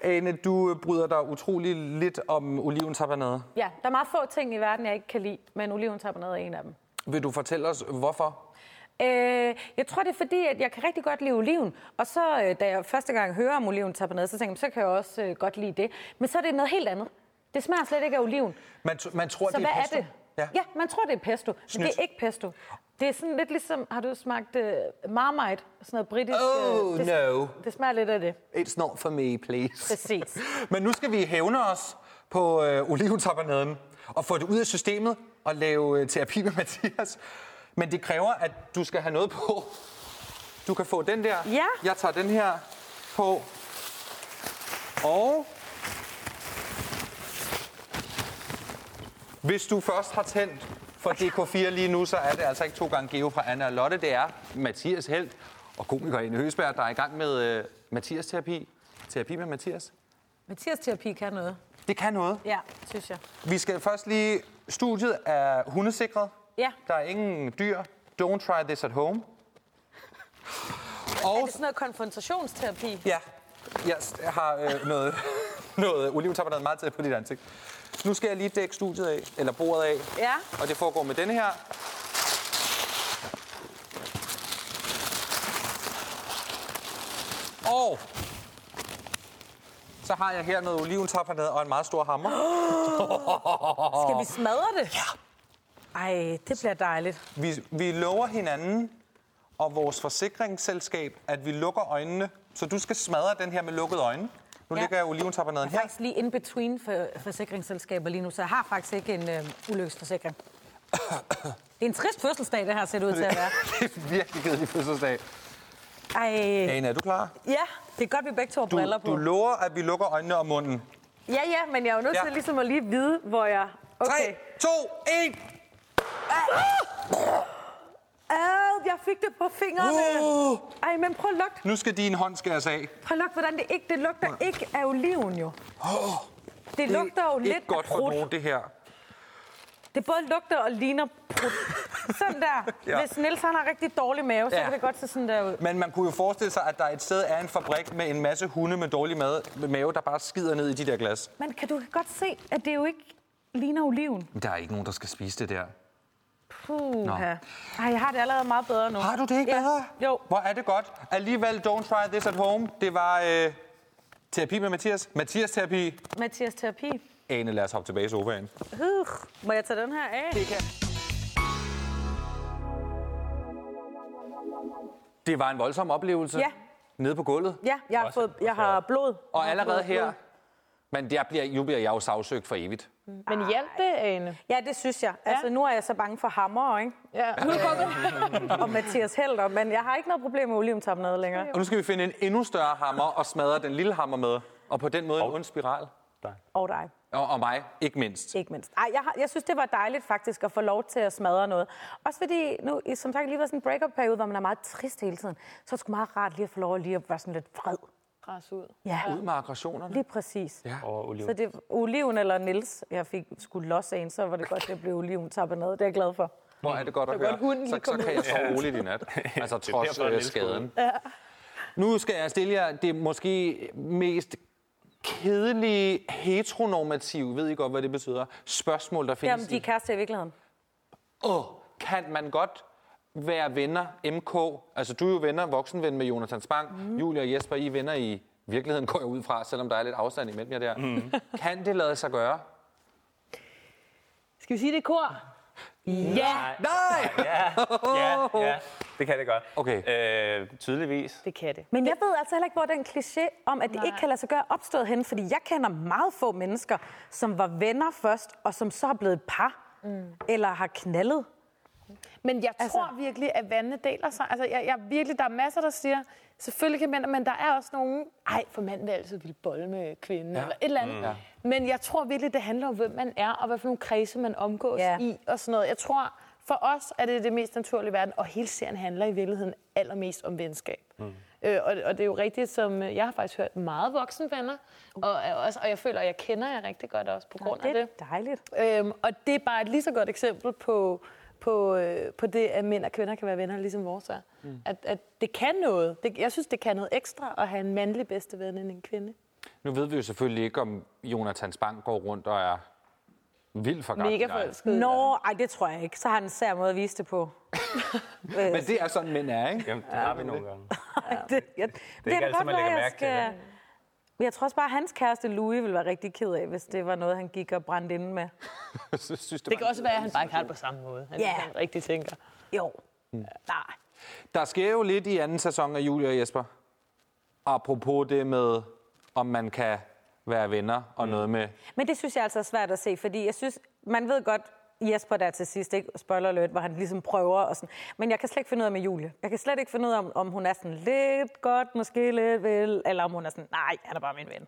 S1: Ane, du øh, bryder dig utrolig lidt om oliventapanade.
S2: Ja, der er meget få ting i verden, jeg ikke kan lide, men oliventapenade er en af dem.
S1: Vil du fortælle os, hvorfor?
S2: Øh, jeg tror, det er fordi, at jeg kan rigtig godt lide oliven. Og så, øh, da jeg første gang hører om oliventapenade, så tænker jeg, så kan jeg også øh, godt lide det. Men så er det noget helt andet. Det smager slet ikke af oliven.
S1: Man, t- man tror,
S2: Så
S1: det
S2: hvad
S1: er
S2: er
S1: pesto.
S2: det? Ja. ja, man tror, det er pesto, men
S1: Snydt.
S2: det er ikke pesto. Det er sådan lidt ligesom, har du smagt øh, Marmite? Sådan noget britisk... øh,
S1: Oh,
S2: det,
S1: no.
S2: Det smager lidt af det,
S1: It's not for me, please.
S2: præcis.
S1: Men nu skal vi hævne os på øh, oliventapanaden og få det ud af systemet og lave øh, terapi med *laughs* Mathias. Men det kræver, at du skal have noget på. Du kan få den der.
S2: Ja.
S1: Jeg tager den her på. Og Hvis du først har tændt for DK4 lige nu, så er det altså ikke to gange Geo fra Anna og Lotte. Det er Mathias Held og komiker Ine Høsberg, der er i gang med øh, Mathias-terapi. Terapi med Mathias.
S2: Mathias terapi kan noget.
S1: Det kan noget.
S2: Ja, synes jeg.
S1: Vi skal først lige... Studiet er hundesikret.
S2: Ja.
S1: Der er ingen dyr. Don't try this at home.
S2: Er
S1: Og
S2: det sådan noget konfrontationsterapi?
S1: ja, jeg har øh, noget, *laughs* noget olivetappernad meget tæt på dit ansigt. Nu skal jeg lige dække studiet af, eller bordet af,
S2: Ja.
S1: Og det foregår med denne her. Og så har jeg her noget oliventapanade og en meget stor hammer.
S2: Skal vi smadre det? Ja. Ej, det bliver dejligt.
S1: Vi, vi lover hinanden og vores forsikringsselskab, at vi lukker øjnene. Så du skal smadre den her med lukkede øjne. Nu ja.
S2: Ja.
S1: ligger jeg oliventapanaden
S2: Jeg
S1: her.
S2: er faktisk lige in between for forsikringsselskaber lige nu, så jeg har faktisk ikke en øh,
S1: *coughs*
S2: ulykkesforsikring. Det er en trist fødselsdag, det her ser det ud til
S1: *coughs*
S2: at være.
S1: *laughs* det er virkelig kedelig fødselsdag.
S2: Ej,
S1: Ane, er du klar?
S2: ja, det er godt, vi begge to har briller
S1: Du,
S2: på.
S1: du lover, at vi lukker øjnene og munden.
S2: Ja, ja, men jeg er jo nødt
S1: Ja.
S2: til ligesom at lige vide, hvor jeg...
S1: 3,
S2: Okay.
S1: 2, 1.
S2: Ad, jeg fik det på fingrene.
S1: Uh!
S2: Ej, men prøv at lugte.
S1: Nu skal din hånd skæres af.
S2: Prøv at lugte, hvordan det ikke... Det lugter ikke af oliven, jo. Det lugter jo lidt
S1: Ikke godt
S2: af
S1: for
S2: krudt.
S1: nogen, det her.
S2: Det både lugter og ligner prut. Sådan der.
S1: *laughs* Ja.
S2: ja. Hvis Niels han har rigtig dårlig mave, så
S1: Ja.
S2: ja. kan det godt se sådan der ud.
S1: Men man kunne jo forestille sig, at der et sted er en fabrik med en masse hunde med dårlig mad, med mave, der bare skider ned i de der glas.
S2: Men kan du kan godt se, at det jo ikke ligner oliven?
S1: Der er ikke nogen, der skal spise det der.
S2: Puh, Ej, jeg har det allerede meget bedre nu.
S1: Har du det ikke
S2: ja.
S1: bedre?
S2: Jo.
S1: Hvor er det godt. Alligevel, don't try this at home. Det var øh, terapi med Mathias. Mathias-terapi.
S2: Mathias Terapi.
S1: Ane, lad os hoppe tilbage i sofaen.
S10: Uh, må jeg tage den her af?
S1: Det var en voldsom oplevelse.
S10: Ja.
S1: Nede på gulvet.
S10: Ja, jeg har, fået, jeg har blod.
S1: Og allerede her, men der bliver, nu bliver jeg jo sagsøgt for evigt.
S10: Men hjælp det, Ane.
S2: Ja, det synes jeg. Altså, nu er jeg så bange for hammer, ikke?
S10: Ja. Nu
S2: *laughs* Og Mathias Helder, men jeg har ikke noget problem med oliventamnade længere.
S1: Og nu skal vi finde en endnu større hammer og smadre den lille hammer med. Og på den måde en ond spiral.
S2: Og dig.
S1: Og, og mig, ikke mindst.
S2: Ikke mindst. Ej, jeg, har, jeg synes, det var dejligt faktisk at få lov til at smadre noget. Også fordi, nu, i- som sagt, lige var sådan en break-up-periode, hvor man er meget trist hele tiden. Så er det sgu meget rart lige at få lov at lige at være sådan lidt vred.
S10: Græs ud.
S2: Ja,
S1: Ud med aggressionerne.
S2: lige præcis. Ja.
S4: Og oliven.
S2: Så det oliven eller Nils, jeg fik skulle losse en, så var det godt, at det blev oliven tappet ned. Det er jeg glad for.
S1: Hvor er det godt at høre. så, så kan jeg sove roligt i nat. Altså
S4: *laughs* Det er
S1: trods
S4: derfor, den
S1: øh,
S4: elsker
S1: skaden. Nu skal jeg stille jer det måske mest kedelige, heteronormative, ved I godt, hvad det betyder, spørgsmål, der findes
S2: Jamen, de er
S1: i.
S2: kærester i virkeligheden.
S1: Åh, kan man godt være venner, MK? Altså, du er jo venner, voksenven med Jonathan Spang. Mm. Julia og Jesper, I er venner i virkeligheden, går jeg ud fra, selvom der er lidt afstand imellem jer der. Mm.
S4: Mhm.
S1: Kan det lade sig gøre?
S10: Skal vi sige det i kor? Ja,
S1: Nej!
S4: Ja, ja, det kan det godt.
S1: Okay.
S4: Øh, tydeligvis.
S10: det kan det.
S2: Men jeg ved altså heller ikke, hvor den kliché om, at det ikke kan lade sig gøre er opstået henne, fordi jeg kender meget få mennesker, som var venner først, og som så er blevet et par, mm. eller har knaldet.
S5: Men jeg altså, tror virkelig, at vandene deler sig. Altså, jeg, jeg, virkelig, der er masser, der siger, selvfølgelig kan mænd, men der er også nogen, ej, for manden vil altid ville bolle med kvinden, ja. eller et eller andet. Mm. Men jeg tror virkelig, det handler om, hvem man er, og hvad for nogle kredse, man omgås
S2: Ja.
S5: ja. i, og sådan noget. Jeg tror, for os er det det mest naturlige i verden, og hele serien handler i virkeligheden allermest om venskab. Mm. Øh, og, og det er jo rigtigt, som øh, jeg har faktisk hørt meget voksenvenner, og, og, øh, også, og jeg føler, at jeg kender jer rigtig godt også på grund af
S2: det er
S5: det.
S2: dejligt.
S5: Øhm, og det er bare et lige så godt eksempel på, på, øh, på det, at mænd og kvinder kan være venner, ligesom vores er. Mm. At, at det kan noget. Det, jeg synes, det kan noget ekstra at have en mandlig bedste ven end en kvinde.
S1: Nu ved vi jo selvfølgelig ikke, om Jonathan Spang går rundt og er vild for
S5: Mega
S1: Gabriel.
S5: forelsket.
S2: Nå, ej, det tror jeg ikke. Så har han en sær måde at vise det på.
S1: Men det er sådan, mænd er, ikke?
S4: Jamen, det har vi nogle gange.
S2: det, jeg, det,
S4: ikke
S2: da
S4: altid, man lægger
S2: være,
S4: mærke til
S2: Men jeg tror også bare, at hans kæreste Louis ville være rigtig ked af, hvis det var noget, han gik og brændte inde med.
S1: Så synes, det
S10: Det
S1: var
S10: kan også være, at han bare ikke har det på samme måde. Han,
S2: Ja.
S10: yeah. han rigtig tænker.
S2: Jo. Mm. Nej.
S1: Der sker jo lidt i anden sæson af Julia og Jesper. Apropos det med, om man kan være venner og noget med...
S2: Men det synes jeg altså er svært at se, fordi jeg synes, man ved godt, Jesper der til sidst, ikke? spoiler alert, hvor han ligesom prøver og sådan. Men jeg kan slet ikke finde ud af med Julie. Jeg kan slet ikke finde ud af, om, om hun er sådan lidt godt, måske lidt vel, eller om hun er sådan, nej, han er bare min ven.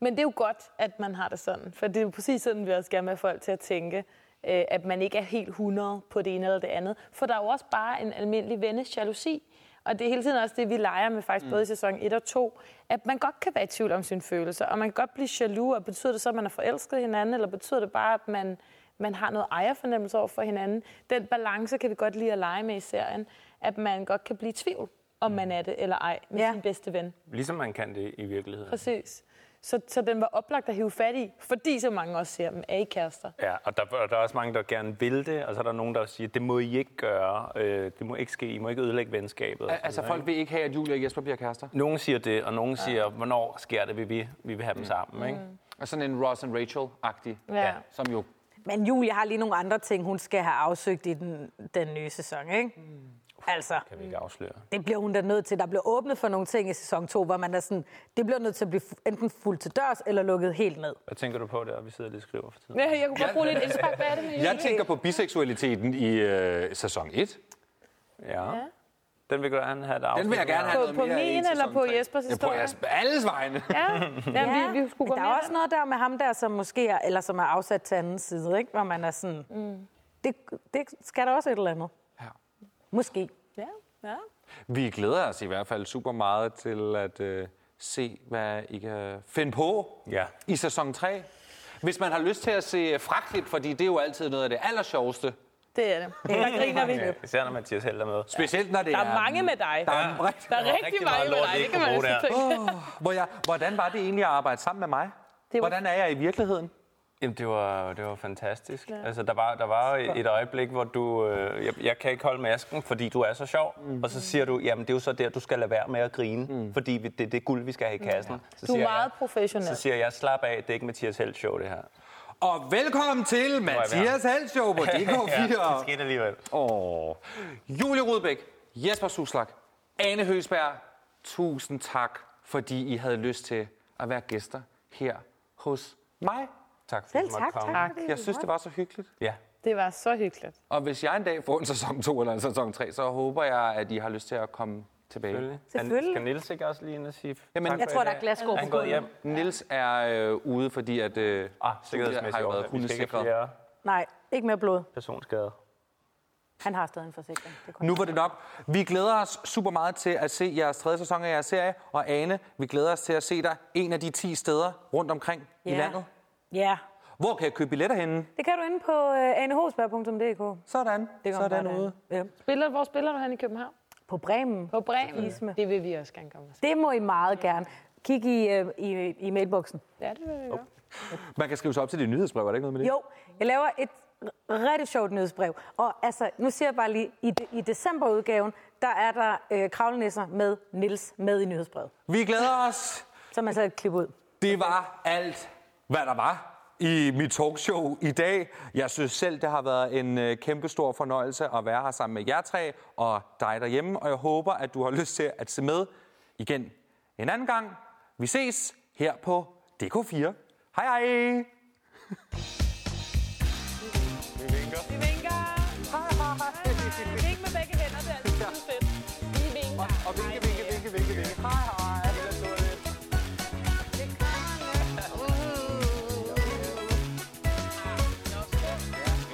S5: Men det er jo godt, at man har det sådan. For det er jo præcis sådan, vi også gerne vil have folk til at tænke, øh, at man ikke er helt 100 på det ene eller det andet. For der er jo også bare en almindelig vennes jalousi. Og det er hele tiden også det, vi leger med faktisk mm. både i sæson 1 og 2, at man godt kan være i tvivl om sine følelser, og man kan godt blive jaloux, og betyder det så, at man er forelsket i hinanden, eller betyder det bare, at man, man har noget ejerfornemmelse over for hinanden? Den balance kan vi godt lide at lege med i serien, at man godt kan blive i tvivl, om man er det eller ej, med
S2: Ja.
S5: Mm. ja. sin bedste ven.
S4: Ligesom man kan det i virkeligheden.
S5: Præcis. Så, så den var oplagt at hive fat i, fordi så mange også ser dem, er I kærester?
S4: Ja, og der, og der er også mange, der gerne vil det, og så er der nogen, der siger, det må I ikke gøre, øh, det må ikke ske, I må ikke ødelægge venskabet. og
S1: Al-
S4: sådan
S1: Altså,
S4: noget,
S1: folk vil ikke have, at Julia og Jesper bliver kærester.
S4: ikke? Nogen siger det, og nogen siger, hvornår sker det, vi vil, vi vil have
S1: Mm.
S4: dem sammen. Ikke?
S1: Og sådan en Ross and Rachel-agtig,
S5: Ja.
S1: som jo...
S2: Men Julie har lige nogle andre ting, hun skal have afsøgt i den, den nye sæson, ikke? Altså,
S4: Mm. Kan vi ikke afsløre.
S2: det bliver hun da nødt til. Der bliver åbnet for nogle ting i sæson 2, hvor man er sådan, det bliver nødt til at blive fu- enten fuldt til dørs, eller lukket helt ned.
S4: Hvad tænker du på der? Vi sidder lige og skriver for tiden.
S10: Ja, jeg kunne godt bruge lidt indspark. Hvad er det med
S1: Jeg tænker på biseksualiteten i øh, sæson 1.
S4: Ja. Den vil gerne have et afsnit.
S1: Den vil jeg gerne have
S5: På,
S1: noget
S5: på
S1: mere i
S5: min
S1: i
S5: eller
S1: sæson
S5: på
S1: tre.
S5: Jespers
S1: Ja, på
S5: historie?
S1: jeres, alles vegne.
S5: Ja, ja. Vi, vi skulle gå
S2: Men der er
S5: mere
S2: også noget der med ham der, som måske er, eller som er afsat til anden side, ikke? hvor man er sådan, mm. det, det skal der også et eller andet.
S1: Ja.
S2: Måske.
S10: Ja, ja.
S1: Vi glæder os i hvert fald super meget til at øh, se, hvad I kan finde på
S4: Ja.
S1: i sæson 3. Hvis man har lyst til at se fraklip, fordi det er jo altid noget af det allersjoveste.
S5: Det er det.
S2: Der griner vi.
S4: Ja, Især når Mathias Helder med.
S1: Specielt når det
S10: Der er mange med dig.
S1: Der er,
S10: Der er rigtig,
S4: rigtig
S10: mange
S4: meget
S10: med
S4: lort,
S10: dig.
S4: vi
S10: Det
S4: ikke
S10: kan man
S4: kunne
S10: jo så
S4: bruge
S10: tænke.
S1: Hvor jeg, hvordan var det egentlig at arbejde sammen med mig?
S5: var-
S1: Hvordan er jeg i virkeligheden?
S4: Jamen, det var, det var fantastisk. Ja. Altså, der var, der var et øjeblik, hvor du... Øh, jeg, jeg kan ikke holde masken, fordi du er så sjov. Mm. Og så siger du, jamen, det er jo så der, du skal lade være med at grine, mm. fordi vi, det, det er guld, vi skal have i kassen. Ja. Så
S5: Du er
S4: siger
S5: meget
S4: jeg,
S5: professionel.
S4: Så siger jeg, slap af, det er ikke Mathias Helt show, det her.
S1: Og velkommen til Mathias Halshow *laughs* på DK4.
S4: ja, det skete alligevel.
S1: Åh. Julie Rudbæk, Jesper Suslak, Ane Høsberg, tusind tak, fordi I havde lyst til at være gæster her hos mig.
S4: Tak fordi du måtte komme.
S1: Jeg synes, det var så hyggeligt.
S4: Ja,
S5: Det var så hyggeligt.
S1: Og hvis jeg en dag får en sæson 2 eller en sæson 3, så håber jeg, at I har lyst til at komme tilbage.
S4: selvfølgelig. Selvfølgelig. Skal Niels ikke også lige ind og sige
S1: Jamen,
S4: tak
S1: jeg
S4: for
S2: tror,
S4: i
S2: der
S4: dag?
S2: er glas
S4: Er
S2: over
S4: Han
S2: på
S4: gået
S2: gulvet.
S4: hjem.
S1: Nils er øh, ude, fordi at øh,
S4: Ah,
S1: Julie har jo været
S4: sikkerhedsmæssigt. Vi skal ikke
S1: hundesikret.
S4: have flere
S2: Nej, ikke mere blod.
S4: personskader.
S2: Han har stadig en forsikring. Det er kun-
S1: Nu var det nok. Vi glæder os super meget til at se jeres tredje sæson af jeres serie. Og Ane, vi glæder os til at se dig en af de 10 steder rundt omkring i
S2: Ja.
S1: landet.
S2: Ja.
S1: Hvor kan jeg købe billetter henne?
S2: Det kan du inde på uh, anehosberg.dk.
S1: Sådan.
S2: Det kommer
S1: Sådan
S2: bare
S1: ude.
S2: derinde. Ja.
S5: Spiller, hvor spiller du han i København?
S2: På Bremen.
S5: På Bremen.
S2: Isme.
S5: Det vil vi også gerne komme og se.
S2: Det må I meget gerne. Kig i, uh, i, i mailboksen.
S5: Ja, det vil vi gøre.
S1: Man kan skrive sig op til dit nyhedsbrev, er det ikke noget med det?
S2: Jo, jeg laver et r- rigtig sjovt nyhedsbrev. Og altså, nu siger jeg bare lige, i, de, i decemberudgaven, der er der øh, kravlenisser med Nils med i nyhedsbrevet.
S1: Vi glæder os.
S2: Som man så kan klippe ud.
S1: Det var alt, hvad der var i mit talkshow i dag. Jeg synes selv, det har været en øh, kæmpestor fornøjelse at være her sammen med jer tre og dig derhjemme. Og jeg håber, at du har *laughs* lyst til at se med igen en anden gang. Vi ses her på DK4. Hej hej!
S5: Vi vinker. Hej, hej. Vink med begge hænder, det er altid fedt. Vi vinker. Og vinke, vinke, vinke, vinke, vinke. Hej, hej.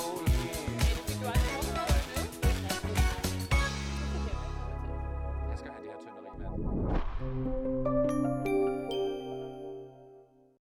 S1: Jeg skal have det her tynderi, mand.